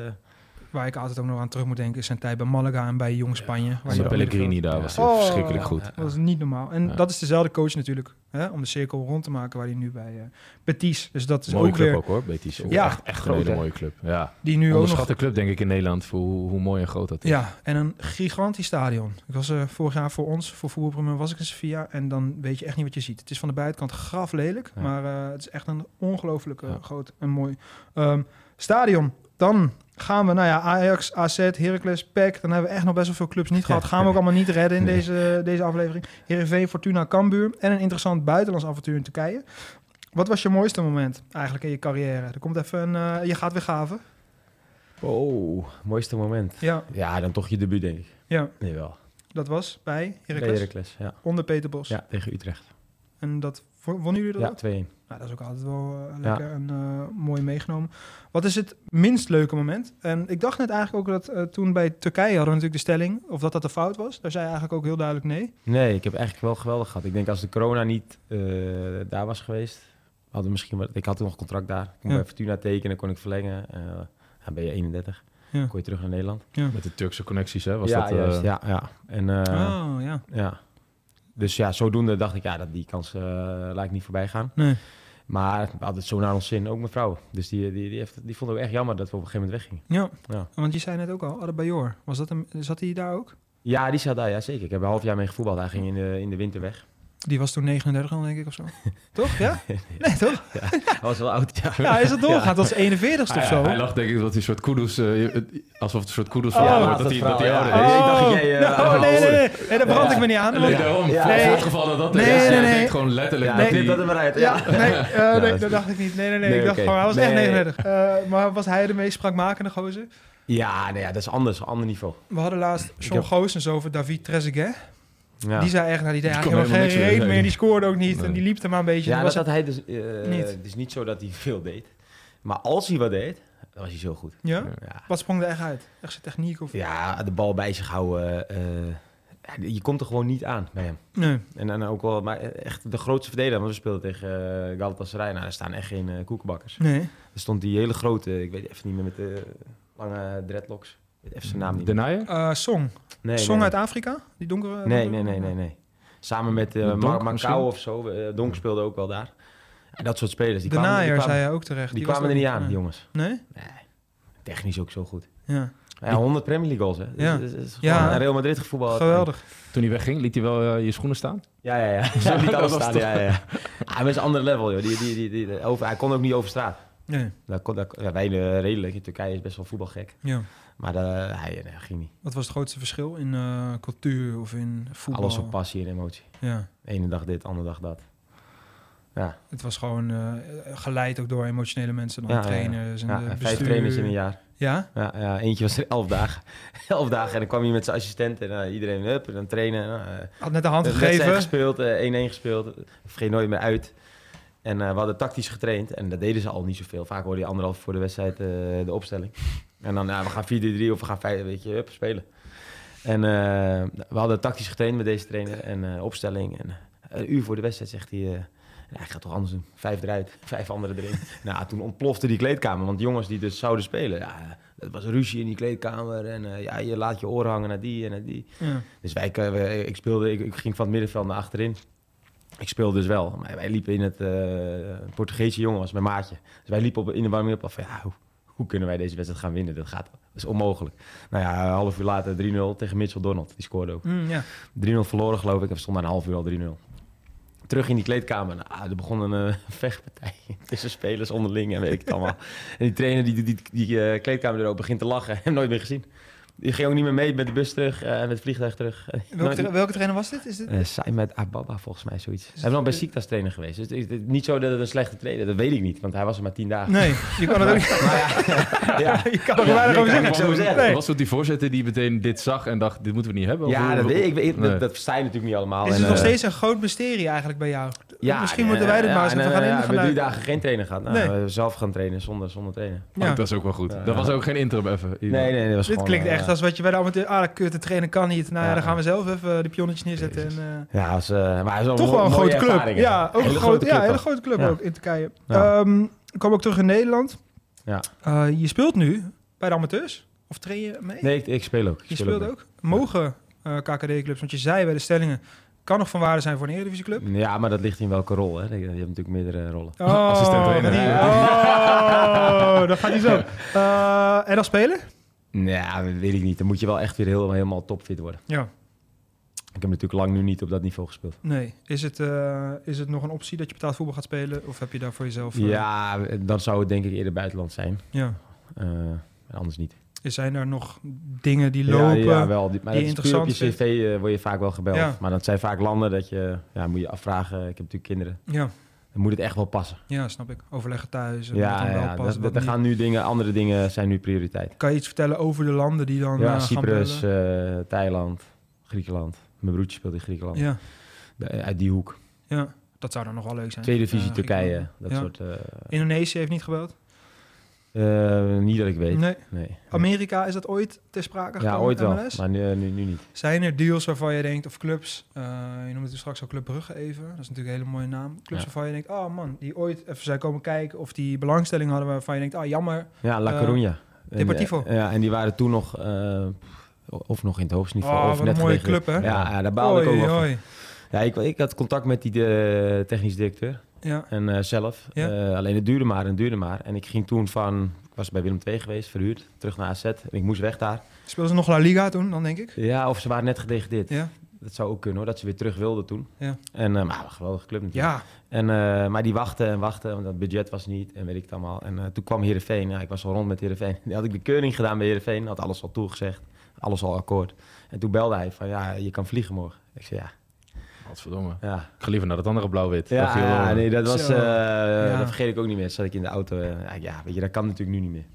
A: Waar ik altijd ook nog aan terug moet denken... is zijn tijd bij Malaga en bij Jong Spanje. waar
C: Als de
A: hij-
C: Pellegrini daar was
A: Oh.
C: verschrikkelijk goed.
A: Dat is niet normaal. En
C: Ja.
A: dat is dezelfde coach natuurlijk. Hè? Om de cirkel rond te maken waar hij nu bij eh Betis. Dus dat is
C: mooie
A: ook
C: club
A: weer...
C: ook hoor, Betis.
A: Ja.
C: echt, echt een hele
H: Groot, hè?
C: mooie club. Ja.
A: Die nu ook nog...
C: Onderschatte club denk ik in Nederland voor hoe, hoe mooi en groot dat is.
A: Ja, en een gigantisch stadion. Ik was eh, vorig jaar voor ons, voor voetbalpremier, was ik in Sevilla. En dan weet je echt niet wat je ziet. Het is van de buitenkant graf lelijk.
H: Ja.
A: Maar eh, het is echt een ongelooflijk eh,
C: Ja.
A: groot en mooi ehm, stadion. Dan gaan we, nou ja, Ajax, AZ, Heracles, PEC. Dan hebben we echt nog best wel veel clubs niet gehad. Gaan we ook allemaal niet redden in deze, deze aflevering. Heerenveen, Fortuna, Cambuur. En een interessant buitenlands avontuur in Turkije. Wat was je mooiste moment eigenlijk in je carrière? Er komt even een... eh, je gaat weer gaven.
H: oh, mooiste moment.
A: Ja,
H: Ja, dan toch je debuut, denk ik.
A: ja,
H: Nee, wel.
A: dat was bij
H: Bij
A: Heracles.
H: Heracles, ja.
A: Onder Peter Bos.
H: ja. Tegen Utrecht.
A: En dat wonnen jullie dat?
H: Ja,
A: ook?
H: 2-1.
A: Nou, dat is ook altijd wel eh, lekker en eh, mooi meegenomen. Wat is het minst leuke moment? En ik dacht net eigenlijk ook dat eh, toen bij Turkije hadden we natuurlijk de stelling of dat dat de fout was. Daar zei je eigenlijk ook heel duidelijk nee.
H: Nee, ik heb eigenlijk wel geweldig gehad. Ik denk als de corona niet eh, daar was geweest, hadden we misschien wel, ik had toen nog contract daar. Ik kon
A: Ja.
H: bij Fortuna tekenen, kon ik verlengen. Eh dan ben je 31,
A: Ja.
H: kon je terug naar Nederland.
C: Met de Turkse connecties hè, was
H: ja,
C: dat... eh,
H: juist, ja, ja. En, eh,
A: oh ja.
H: ja. Dus ja, zodoende dacht ik, ja, dat die kans eh, laat ik niet voorbij gaan.
A: Nee.
H: Maar we hadden het zo naar ons zin, ook mijn vrouw. Dus die, die, die, heeft, die vond het ook echt jammer dat we op een gegeven moment weggingen.
A: Ja.
H: Ja.
A: want je zei net ook al, Adebayor. Was dat hem, zat hij daar ook?
H: Ja, die zat daar, ja zeker. Ik heb een half jaar mee gevoetbald. Hij ging in de, in de winter weg.
A: Die was toen 39 al, denk ik, of zo. toch? Ja? Nee, toch?
H: Hij was wel oud, ja. Ah,
A: Ja, is dat doorgaat als 41ste
C: Hij,
A: of zo?
C: hij lag denk ik dat hij een soort kudos, alsof het een soort kudos
H: Ja,
C: verhaal wordt,
H: laatste
C: dat hij,
H: Oh, verhaal,
C: dat hij
H: ja. Ja, ik
C: ouder is.
H: dacht dat jij, eh,
A: Oh,
H: aan
A: nee, nee,
H: het
A: nee, nee, daar brand ik me niet aan. want-
C: Nee, daarom.
H: Ja.
C: Voor
A: Nee.
C: het geval dat dat
A: Nee,
C: is.
A: nee,
C: Hij
A: nee.
C: denkt gewoon letterlijk
H: Ja,
C: dat
H: dit
C: hij...
H: hadden we eruit,
A: Ja, nee, eh, nee, dat,
H: dat is-
A: dacht ik niet. Nee, nee, nee.
H: Nee,
A: ik dacht
H: oké.
A: gewoon, hij was echt
H: Nee.
A: 39. Eh, maar was hij de meest spraakmakende gozer?
H: Ja, nou ja, dat is anders, een ander niveau.
A: We hadden laatst John
H: heb-
A: Goossens over David Trezeguet.
H: Ja,
A: Die zei echt, nou, die deed
C: Die kon
A: eigenlijk helemaal
C: helemaal
A: geen
C: niks
A: reden meer.
C: meer, nee.
A: Die scoorde ook niet. En
C: Nee.
A: die liep er maar een beetje.
H: ja
A: En
H: dat
A: was
H: had hij dus... eh,
A: Niet.
H: Het is niet zo dat hij veel deed. Maar als hij wat deed, was hij zo goed.
A: Ja?
H: Ja,
A: Wat sprong er echt uit? Echt zijn techniek of...
H: ja de bal bij zich houden. eh, ja, je komt er gewoon niet aan bij hem.
A: Nee.
H: En dan ook wel, maar eh, echt de grootste verdediger. Want we speelden tegen eh, Galatasaray. Nou, daar staan echt geen eh, koekenbakkers.
A: Nee.
H: Er stond die hele grote, ik weet even niet meer, met de lange dreadlocks. Ik weet even zijn naam niet
C: De
H: meer.
C: Nijer?
A: Eh, Song.
H: Nee,
A: Song
H: nee,
A: uit Afrika? Die donkere...
H: nee, nee, nee, nee, nee. Samen met eh
C: Met Donk
H: Ma-
C: misschien?
H: Macau of zo. eh, Donk speelde ook wel daar. En dat soort spelers. Die
A: de
H: kwamen, die
A: naaier
H: kwamen,
A: zei hij ook terecht.
H: die
A: was eh.
H: kwamen er niet aan, die jongens.
A: Nee?
H: Technisch ook zo goed.
A: Ja.
H: Ja, 100 Premier League goals, hè.
A: Ja.
H: Ja. Dus, dus,
A: Ja.
H: ja. Real Madrid gevoetbald.
A: Geweldig.
C: Toen hij wegging, liet hij wel eh, je schoenen staan?
H: Ja, ja, ja. Zo liet alles
C: was
H: staan.
C: toch-
H: Ja, ja, ja. Ah, maar het is een ander level, joh. Die, die, die, die, die- over, hij kon ook niet over straat.
A: Nee.
H: Daar kon, daar, ja, wij eh, redelijk. In Turkije is best wel voetbalgek.
A: Ja.
H: Maar eh, hij eh, ging niet.
A: Wat was het grootste verschil in eh, cultuur of in voetbal?
H: Alles op passie en emotie.
A: Ja.
H: Ene dag dit, andere dag dat. Ja,
A: Het was gewoon eh, geleid ook door emotionele mensen dan
H: Ja, ja, ja.
A: trainers en
H: ja
A: de
H: en vijf
A: eh, bestuur.
H: trainers in een jaar.
A: Ja?
H: Ja, ja, eentje was er elf dagen. elf dagen en dan kwam hij met zijn assistent en eh, iedereen hup, en dan trainen. en, eh,
A: Had net de hand
H: Net wedstrijd
A: gegeven.
H: gespeeld, eh, 1-1 gespeeld. Vergeet nooit meer uit. En eh, we hadden tactisch getraind. En dat deden ze al niet zoveel. Vaak hoorde je anderhalf voor de wedstrijd eh, de opstelling. En dan, ja, we gaan 4-3 of we gaan 5, weet je, hup, spelen. En eh, we hadden tactisch getraind met deze trainer. En eh, opstelling. En eh, een uur voor de wedstrijd zegt hij... eh, nou, ik ga het toch anders doen. Vijf eruit, vijf anderen erin. nou, toen ontplofte die kleedkamer. Want jongens die dus zouden spelen... Ja, dat was ruzie in die kleedkamer. En eh, ja, je laat je oren hangen naar die en naar die.
A: Ja.
H: Dus wij, eh, wij- ik, speelde, ik, ik ging van het middenveld naar achterin. Ik speelde dus wel. Maar wij liepen in het... eh een Portugese jongen was mijn maatje. Dus wij liepen op, in de warming-up af van... Ja, hoe, hoe kunnen wij deze wedstrijd gaan winnen? Dat, gaat, dat is onmogelijk. Nou ja, een half uur later 3-0 tegen Mitchell Donald. Die scoorde ook. 3-0
A: Mm, ja.
H: verloren geloof ik. En we stonden na een half uur al 3-0. Terug in die kleedkamer. Nou, er begon een eh, vechtpartij tussen spelers onderling en weet ik het allemaal. En die trainer die, die, die, die eh, kleedkamer er ook begint te lachen. Hem nooit meer gezien. Die ging ook niet meer mee met de bus terug eh, en met het vliegtuig terug.
A: Welke,
H: Nooit-
A: tra- welke trainer was dit? Is dit?
H: eh Saimet Ababa, volgens mij zoiets. Hij is nog bij
A: eh,
H: Siktas trainer geweest. Dus het is niet zo dat het een slechte trainer dat weet ik niet. Want hij was er maar tien dagen.
A: Nee, je kan het ook niet.
H: Ja,
A: Je kan er weinig over
H: kan
A: zeggen.
H: ik zo zeggen.
A: Nee.
C: Was het die voorzitter die meteen dit zag en dacht, dit moeten we niet hebben? Of
H: ja
C: hoe-
H: dat, weet ik, weet-
C: Nee.
H: dat, dat versta je natuurlijk niet allemaal.
A: Is het
H: En,
A: nog
H: eh,
A: steeds een groot mysterie eigenlijk bij jou?
H: ja,
A: Misschien
H: en,
A: moeten wij dit
H: eh,
A: maar eens
H: ja, en,
A: even gaan
H: eh, ja,
A: in.
H: ik ben drie dagen geen trainer gehad. Nou,
A: Nee.
H: eh, zelf gaan trainen zonder, zonder trainen.
C: Oh,
A: Ja.
C: Dat is ook wel goed. dat was ook geen interim even.
H: Nee, nee, dat was
A: Dit
H: gewoon,
A: klinkt
H: eh,
A: echt als wat je bij de amateur... Ah, dat kut, de trainer kan niet. Nou ja,
H: Ja.
A: dan gaan we zelf even de pionnetjes neerzetten. En, eh,
H: Ja, als, eh, maar het is
A: toch wel een
H: mooie
A: grote club.
H: ervaring, hè.
A: Ja, ook
H: Hele
A: een groot,
H: grote
A: ja,
H: club
A: hele
H: ook.
A: grote club
H: Ja.
A: ook in Turkije.
H: Ja.
A: Ehm, ik kwam ook terug in Nederland.
H: Ja.
A: Eh, je speelt nu bij de amateurs? Of train je mee?
H: Nee, ik, ik speel ook. Ik
A: je
H: speel
A: speelt ook? Mogen eh, KKD-clubs, want je zei bij de stellingen... kan nog van waarde zijn voor een eredivisieclub?
H: Ja, maar dat ligt in welke rol. Hè? Je hebt natuurlijk meerdere rollen.
A: Oh,
C: Assistent trainer.
A: die- oh, dat gaat niet zo. Eh, en dan spelen?
H: Nou, dat weet ik niet. Dan moet je wel echt weer heel, helemaal topfit worden.
A: Ja.
H: Ik heb natuurlijk lang nu niet op dat niveau gespeeld.
A: Nee. Is het, eh, is het nog een optie dat je betaald voetbal gaat spelen? Of heb je daar voor jezelf... eh,
H: Ja, dan zou het denk ik eerder buitenland zijn.
A: ja.
H: Eh, anders niet.
A: Is Zijn er nog dingen die lopen?
H: Ja, ja, wel. die- Maar
A: die
H: dat is puur op je
A: interessant
H: cv eh, word je vaak wel gebeld.
A: Ja.
H: Maar dat zijn vaak landen dat je... Ja, moet je afvragen. Ik heb natuurlijk kinderen.
A: ja.
H: Dan moet het echt wel passen.
A: Ja, snap ik. Overleggen thuis. en wat
H: ja,
A: dan wel
H: ja,
A: past,
H: dat-
A: wat
H: dat- er
A: niet.
H: gaan nu dingen... Andere dingen zijn nu prioriteit.
A: Kan je iets vertellen over de landen die dan
H: Ja,
A: eh, gaan
H: Cyprus,
A: bellen?
H: eh, Thailand, Griekenland. Mijn broertje speelt in Griekenland.
A: ja,
H: Da- Uit die hoek.
A: ja, dat zou dan nog wel leuk zijn.
H: Tweede divisie
A: Eh,
H: Turkije.
A: Griekenland.
H: Dat
A: Ja.
H: soort... eh,
A: Indonesië heeft niet gebeld?
H: eh, niet dat ik weet.
A: Nee.
H: Nee.
A: Amerika, is dat ooit ter sprake gekomen?
H: Ja, ooit wel.
A: MLS?
H: Maar nu, nu, nu niet.
A: Zijn er deals waarvan je denkt, of clubs, eh, je noemde het straks al Club Brugge even, dat is natuurlijk een hele mooie naam. Clubs
H: Ja.
A: waarvan je denkt, oh man, die ooit even zijn komen kijken of die belangstelling hadden waarvan je denkt, ah jammer.
H: Ja, La
A: Eh,
H: Coruña. En,
A: Deportivo.
H: eh, ja, en die waren toen nog... eh, of nog in het hoofdniveau.
A: Oh,
H: of
A: wat
H: net
A: een mooie
H: gedegradeerd.
A: club, hè?
H: Ja, ja, daar baalde
A: Oei,
H: ik ook wel van.
A: oei.
H: Ja, ik, ik had contact met die eh, technisch directeur
A: Ja,
H: en eh, zelf.
A: Ja.
H: Eh, alleen het duurde maar en het duurde maar. En ik ging toen van... Ik was bij Willem II geweest, verhuurd, terug naar AZ. En ik moest weg daar.
A: speelden ze nog La Liga toen dan, denk ik?
H: Ja, of ze waren net gedegradeerd.
A: Ja,
H: Dat zou ook kunnen hoor, dat ze weer terug wilden toen.
A: Ja.
H: En, eh, maar een geweldige club natuurlijk.
A: ja.
H: En, eh, maar die wachten en wachten, want dat budget was niet en weet ik het allemaal. En eh, toen kwam Heerenveen, ja, ik was al rond met Heerenveen. Die had ik de keuring gedaan bij Heerenveen, had alles al toegezegd, alles al akkoord. En toen belde hij van, ja, je kan vliegen morgen. Ik zei, ja,
C: Godverdomme.
H: ja.
C: Ik ga liever naar dat andere blauw-wit. Dat
H: Ja,
C: viel wel-
H: ja, nee, dat was,
A: Zo.
H: eh,
A: Ja.
H: dat vergeet ik ook niet meer. Toen zat ik in de auto, eh, ja, ja, weet je, dat kan natuurlijk nu niet meer.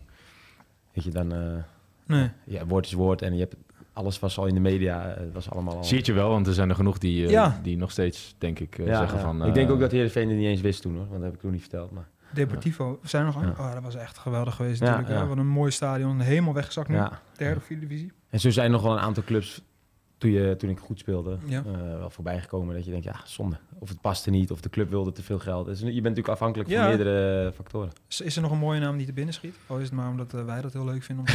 H: Weet je, dan, eh,
A: Nee.
H: ja, woord is woord en je hebt, alles was al in de media, eh, het was allemaal al...
C: Zie het je wel, want er zijn er genoeg die, eh,
A: Ja.
C: die nog steeds, denk ik, eh,
H: Ja,
C: zeggen
H: ja.
C: van...
H: ik denk
C: eh,
H: ook dat Heerenveen het niet eens wist toen hoor, want dat heb ik toen niet verteld. Maar
A: Deportivo. Zijn we nog aan?
H: Ja.
A: Oh, dat was echt geweldig geweest
H: Ja,
A: natuurlijk. hè.
H: ja.
A: Wat een mooi stadion. Helemaal weggezakt nu.
H: Ja.
A: Derde of vierde divisie.
H: En zo zijn nog wel een aantal clubs toen, je, toen ik goed speelde
A: Ja.
H: eh, wel voorbij gekomen. Dat je denkt, ja, zonde. Of het paste niet, of de club wilde te veel geld. Dus je bent natuurlijk afhankelijk
A: Ja.
H: van meerdere factoren.
A: Is, is er nog een mooie naam die te binnen schiet? Of is het maar omdat eh, wij dat heel leuk vinden? Om...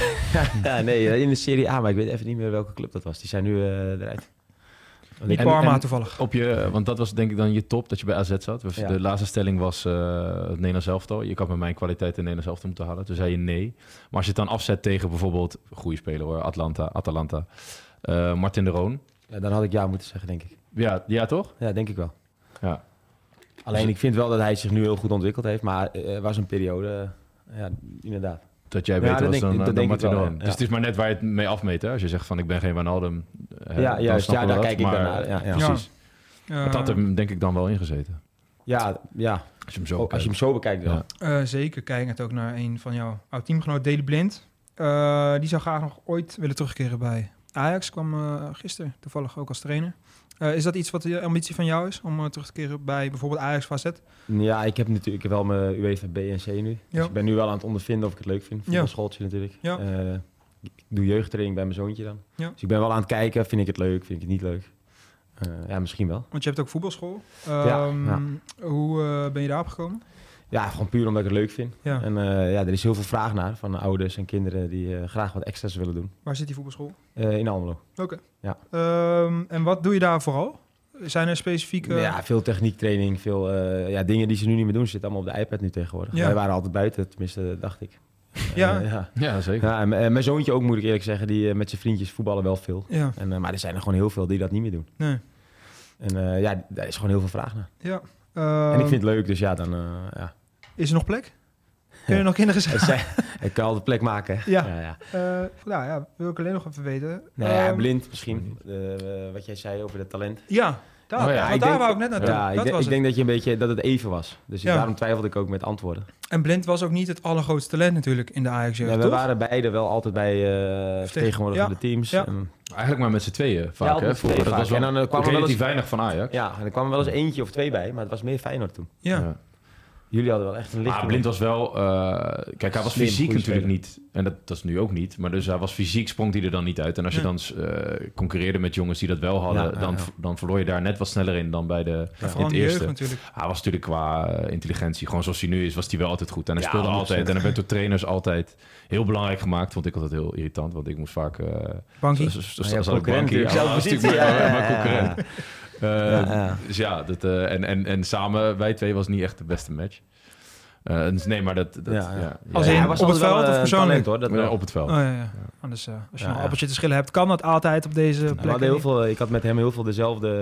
H: ja, nee, eh, in de Serie A, maar ik weet even niet meer welke club dat was. Die zijn nu eh, eruit.
A: Niet
C: En-
A: Parma
C: en-
A: toevallig.
C: Op je, want dat was denk ik dan je top, dat je bij AZ zat. Dus
H: Ja.
C: De laatste stelling was eh, het Nederlands elftal. Je kan met mijn kwaliteit in Nederlands elftal moeten halen. Toen zei je nee. Maar als je het dan afzet tegen bijvoorbeeld, goede speler hoor, Atlanta, Atalanta, eh, Martin de Roon.
H: Ja, dan had ik ja moeten zeggen, denk ik.
C: Ja, ja toch?
H: Ja, denk ik wel.
C: Ja.
H: Alleen ik vind wel dat hij zich nu heel goed ontwikkeld heeft. Maar eh, er was een periode, eh, ja, inderdaad.
C: Dat jij
H: Ja,
C: beter
H: dat
C: was
H: denk-
C: dan,
H: dat
C: eh, dan
H: denk ik
C: Martin de
H: wel,
C: Roon.
H: ja.
C: Dus het is maar net waar je het mee afmeet. Hè? Als je zegt van ik ben geen Wijnaldum. eh,
H: ja,
C: dan
H: juist.
C: snappen
H: Ja,
C: we
H: daar
C: dat,
H: kijk ik
C: maar,
H: dan naar. Ja, ja.
A: Ja.
H: precies.
C: Dat had
A: Eh,
C: hem denk ik dan wel ingezeten.
H: Ja, ja.
C: Als je hem zo
H: Oh, als je hem zo bekijkt wel.
C: Ja.
A: Eh, zeker kijkend ook naar een van jouw oud-teamgenoot, Deli Blind. Eh, die zou graag nog ooit willen terugkeren bij Ajax. Kwam eh, gisteren toevallig ook als trainer. Eh, is dat iets wat de ambitie van jou is? Om eh, terug te keren bij bijvoorbeeld Ajax of AZ?
H: Ja, ik heb natuurlijk wel mijn UEFA B en C nu.
A: Ja.
H: Dus ik ben nu wel aan het ondervinden of ik het leuk vind. Voor
A: Ja.
H: een schooltje natuurlijk.
A: Ja.
H: Eh, ik doe jeugdtraining bij mijn zoontje dan.
A: Ja.
H: Dus ik ben wel aan het kijken, vind ik het leuk, vind ik het niet leuk. Eh, ja, misschien wel.
A: Want je hebt ook voetbalschool.
H: Ja,
A: Ehm,
H: ja.
A: Hoe eh, ben je daarop gekomen?
H: Ja, gewoon puur omdat ik het leuk vind.
A: Ja.
H: En eh, ja, er is heel veel vraag naar van ouders en kinderen die eh, graag wat extra's willen doen.
A: Waar zit die voetbalschool?
H: Eh, in Almelo.
A: Oké.
H: Ja.
A: Ehm, en wat doe je daar vooral? Zijn er specifieke...
H: Ja, veel techniektraining, veel eh, ja, dingen die ze nu niet meer doen. Ze zitten allemaal op de iPad nu tegenwoordig.
A: Ja.
H: Wij waren altijd buiten, tenminste, dacht ik.
A: Ja.
H: Eh, ja.
C: Ja, zeker.
H: Ja, en m- en mijn zoontje ook, moet ik eerlijk zeggen, die eh, met zijn vriendjes voetballen wel veel.
A: Ja,
H: En, eh, maar er zijn er gewoon heel veel die dat niet meer doen.
A: nee.
H: En eh, ja, daar is gewoon heel veel vraag naar.
A: Ja.
H: en
A: Ehm,
H: ik vind het leuk, dus ja, dan eh, ja.
A: Is er nog plek? Kunnen er nog kinderen zijn?
H: Het zijn- ik kan altijd plek maken. hè.
A: Ja.
H: ja, ja.
A: Eh, nou ja, wil ik alleen nog even weten.
H: Nou ja,
A: Ehm,
H: blind misschien, eh, wat jij zei over dat talent.
A: Ja, daar,
C: Oh ja,
A: want
H: ik
A: daar
H: denk-
A: wou ik net naartoe.
H: Ja, ik,
A: dat
H: denk-
A: was het.
H: ik denk dat je een beetje dat het even was. Dus ik-
A: Ja.
H: daarom twijfelde ik ook met antwoorden.
A: En Blind was ook niet het allergrootste talent natuurlijk in de ajax
H: Ja, we waren beide wel altijd bij eh vertegenwoordigende
A: Ja.
H: teams.
A: Ja.
H: En,
C: Eigenlijk maar met z'n tweeën
H: Ja,
C: vaak.
H: met
C: hè,
H: z'n
C: vroeger.
H: tweeën
C: dat was
H: vaak.
C: wel
H: En dan, eh, kwam er wel
C: relatief
H: eens-
C: weinig van Ajax.
H: ja, en er kwam wel eens eentje of twee bij, maar het was meer Feyenoord toen.
A: Ja.
C: Ja.
H: Jullie hadden wel echt een licht.
C: Maar Blind was wel... eh, kijk, hij was
H: Slim,
C: fysiek
H: goede speler.
C: natuurlijk niet. En dat, dat is nu ook niet. Maar dus hij was fysiek, sprong hij er dan niet uit. En als je
A: Nee.
C: dan eh, concurreerde met jongens die dat wel hadden...
H: Ja, ja,
C: dan,
H: ja.
C: dan verloor je daar net wat sneller in dan bij de, in
A: Vooral
C: het
A: in de jeugd
C: eerste.
A: natuurlijk.
C: Hij was natuurlijk qua eh, intelligentie, gewoon zoals hij nu is, was hij wel altijd goed. En hij
H: Ja,
C: speelde
H: 100%.
C: altijd. En hij werd door trainers altijd heel belangrijk gemaakt. Vond ik altijd heel irritant, want ik moest vaak... eh,
A: Bankie.
C: zo- zo- zo-
H: Ah, Ja,
C: zat ik
H: concurrent
C: bankie.
H: natuurlijk.
C: Ja,
H: Zelfde
C: was
H: positie,
C: natuurlijk mijn-
H: ja, ja,
C: mijn
H: ja, ja.
C: concurrent. Eh,
H: Ja, ja.
C: Dus ja, dat, eh, en, en, en samen, wij twee, was niet echt de beste match. Eh, dus nee, maar dat... dat ja,
H: Ja, ja.
A: Als in-
H: hij
A: op het
H: altijd wel
A: veld of
H: een
A: persoonlijk?
H: talent, hoor. Dat
C: Ja,
H: wel.
C: op het veld.
A: Oh, ja, ja. Anders, eh, als je
H: Ja,
A: nog
H: ja. Nou,
A: appeltje te schillen hebt, kan dat altijd op deze
H: We
A: plek.
H: hadden heel veel, ik had met hem heel veel dezelfde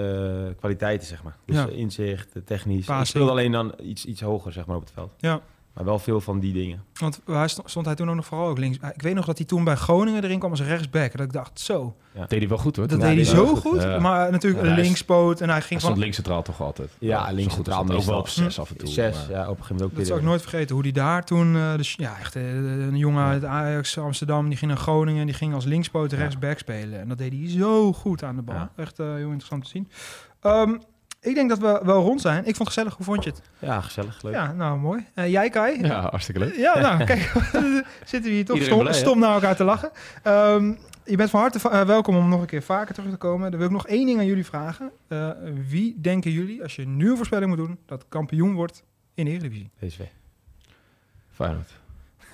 H: eh, kwaliteiten, zeg maar. Dus
A: Ja.
H: eh, inzicht, eh, technisch.
A: Passing.
H: Ik speelde alleen dan iets, iets hoger, zeg maar, op het veld.
A: Ja.
H: Maar wel veel van die dingen.
A: Want hij stond, stond hij toen ook nog vooral ook links. Ah, Ik weet nog dat hij toen bij Groningen erin kwam als rechtsback. Dat ik dacht, zo,
C: Dat deed hij wel goed, hoor.
A: dat
H: Ja,
A: deed hij
H: dit
A: zo
H: was
A: goed.
H: goed.
C: Ja.
A: Maar natuurlijk
C: Ja, hij is-
A: linkspoot en hij
C: Hij
A: ging
C: stond
A: van...
C: links centraal toch altijd.
H: Ja, links
C: zo goed, hij
H: centraal
C: stond ook wel op
H: meestal.
C: zes af en toe.
H: Zes,
C: maar-
H: ja, op een gegeven moment ook
A: Dat
H: weer. eh,
A: zou ik nooit vergeten, hoe die daar toen... eh, dus, ja, echt eh, een jongen uit Ajax Amsterdam, die ging naar Groningen... die ging als linkspoot rechtsback spelen. En dat deed hij zo goed aan de bal.
H: Ja.
A: Echt eh, heel interessant te zien. Ehm, ik denk dat we wel rond zijn. Ik vond het gezellig. Hoe vond je het?
H: Ja, gezellig, leuk.
A: Ja, nou, mooi. Eh, jij, Kai?
C: Ja, hartstikke leuk.
A: Ja, nou, kijk, zitten we hier toch
C: Iedereen
A: stom,
C: blij, hè?
A: stom naar elkaar te lachen. Ehm, je bent van harte va- eh, welkom om nog een keer vaker terug te komen. Dan wil ik nog één ding aan jullie vragen. Eh, wie denken jullie, als je nu een voorspelling moet doen, dat kampioen wordt in de Eredivisie?
H: PSV.
C: Feyenoord.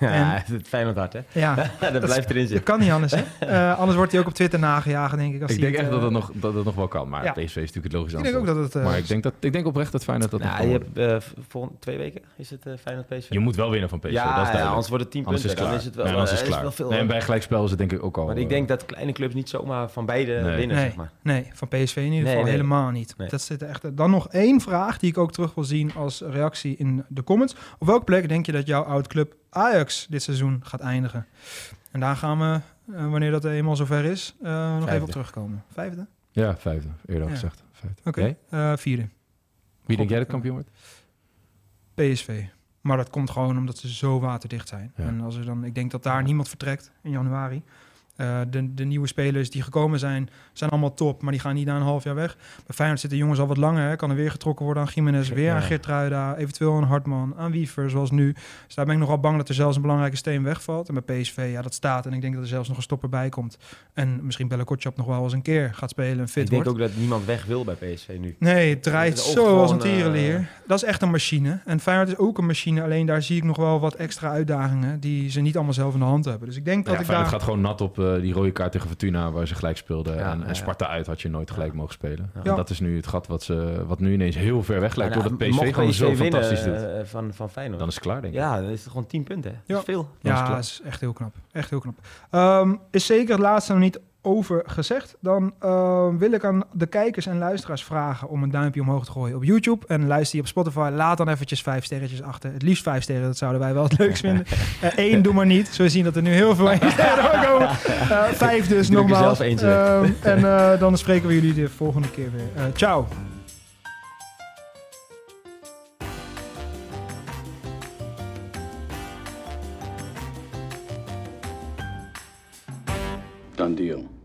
H: Ja, het Feyenoord hard, hè?
A: Ja,
H: dat blijft erin
A: dat
H: zitten.
A: kan niet anders, hè? Eh, anders wordt hij ook op Twitter nagejagen, denk ik. Als
C: Ik
A: hij
C: denk echt
A: eh,
C: dat het nog, dat het nog wel kan. Maar
A: Ja.
C: PSV is natuurlijk het logische
A: Ik denk ook dat
C: antwoord.
A: het... eh,
C: Maar ik denk, dat, ik denk oprecht dat Feyenoord dat nog
H: Nou,
C: kan
H: je
C: worden.
H: hebt eh, v- volgende twee weken is het eh, Feyenoord PSV.
C: Je moet wel winnen van PSV,
H: ja,
C: dat is
H: ja,
C: duidelijk.
H: anders wordt het 10
C: Anders
H: punten. Dan is
C: is het klaar.
H: het wel,
C: Nee, anders is
H: eh,
C: het
H: is wel
C: klaar.
H: veel.
C: Nee, en bij gelijkspel is het denk ik ook al...
H: maar
C: eh,
H: ik denk dat kleine clubs niet zomaar van beide
C: Nee.
H: winnen,
A: nee,
H: zeg maar.
A: nee, van PSV in ieder
H: Nee,
A: geval
H: nee.
A: helemaal niet.
H: Nee.
A: Dat zit er echt... Dan nog één vraag die ik ook terug wil zien als reactie in de comments. Op welke plek denk je dat jouw oud-club Ajax dit seizoen gaat eindigen? En daar gaan we, eh, wanneer dat eenmaal zover is, eh, nog even
H: Vijfde.
A: op terugkomen. Vijfde?
C: Ja, vijfde. Eerder al
A: Ja.
C: gezegd. Vijfde.
A: Oké,
C: Jij?
A: eh, vierde.
C: Wie denk jij dat kampioen wordt?
A: PSV. Maar dat komt gewoon omdat ze zo waterdicht zijn.
C: Ja.
A: En als er dan, ik denk dat daar niemand vertrekt in januari. Eh, de, de nieuwe spelers die gekomen zijn, zijn allemaal top, maar die gaan niet na een half jaar weg. Bij Feyenoord zitten jongens al wat langer. Hè. Kan er weer getrokken worden aan Jiménez, weer aan
H: Ja.
A: Geertruida, eventueel aan Hartman, aan Wiever, zoals nu. Dus daar ben ik nogal bang dat er zelfs een belangrijke steen wegvalt. En bij PSV, ja, dat staat. En ik denk dat er zelfs nog een stopper bij komt. En misschien Bella Kotschap nog wel eens een keer gaat spelen en fit
H: Ik
A: wordt.
H: denk ook dat niemand weg wil bij PSV nu.
A: Nee, het draait
H: Het is
A: zo
H: ook
A: als een
H: gewoon, eh,
A: tierenleer. dat is echt een machine. En Feyenoord is ook een machine. Alleen daar zie ik nog wel wat extra uitdagingen... die ze niet allemaal zelf in de hand hebben. Dus ik denk dat
H: Nou
C: Ja,
A: ik
C: Feyenoord
A: daar...
C: gaat gewoon nat op eh, die rode kaart tegen Fortuna, waar ze gelijk speelden.
H: Ja,
C: en,
H: ja,
C: en Sparta uit had je nooit gelijk mogen spelen.
A: Ja.
C: En dat is nu het gat wat, ze, wat nu ineens heel ver weg lijkt,
H: Maar
C: doordat
H: nou,
C: PSV
H: mocht
C: gewoon zo
H: winnen,
C: fantastisch doet.
H: eh, van, van Feyenoord.
C: Dan is het klaar, denk ik.
H: ja, dan is het gewoon 10 punten. hè. Dat
A: Ja.
H: is veel.
A: Ja, dat is echt heel knap. Echt heel knap. Ehm, is zeker het laatste nog niet over gezegd. Dan ehm, wil ik aan de kijkers en luisteraars vragen om een duimpje omhoog te gooien op YouTube. En luister je op Spotify, laat dan eventjes vijf sterretjes achter. Het liefst vijf sterren, dat zouden wij wel het leukst vinden. Eén, doe maar niet. Zo zien dat er nu heel veel één sterren komen. Eh, vijf dus,
H: Druk er
A: nogmaals.
H: zelf eentje
A: Ehm, en eh, dan spreken we jullie de volgende keer weer. Eh, ciao.
G: Done deal.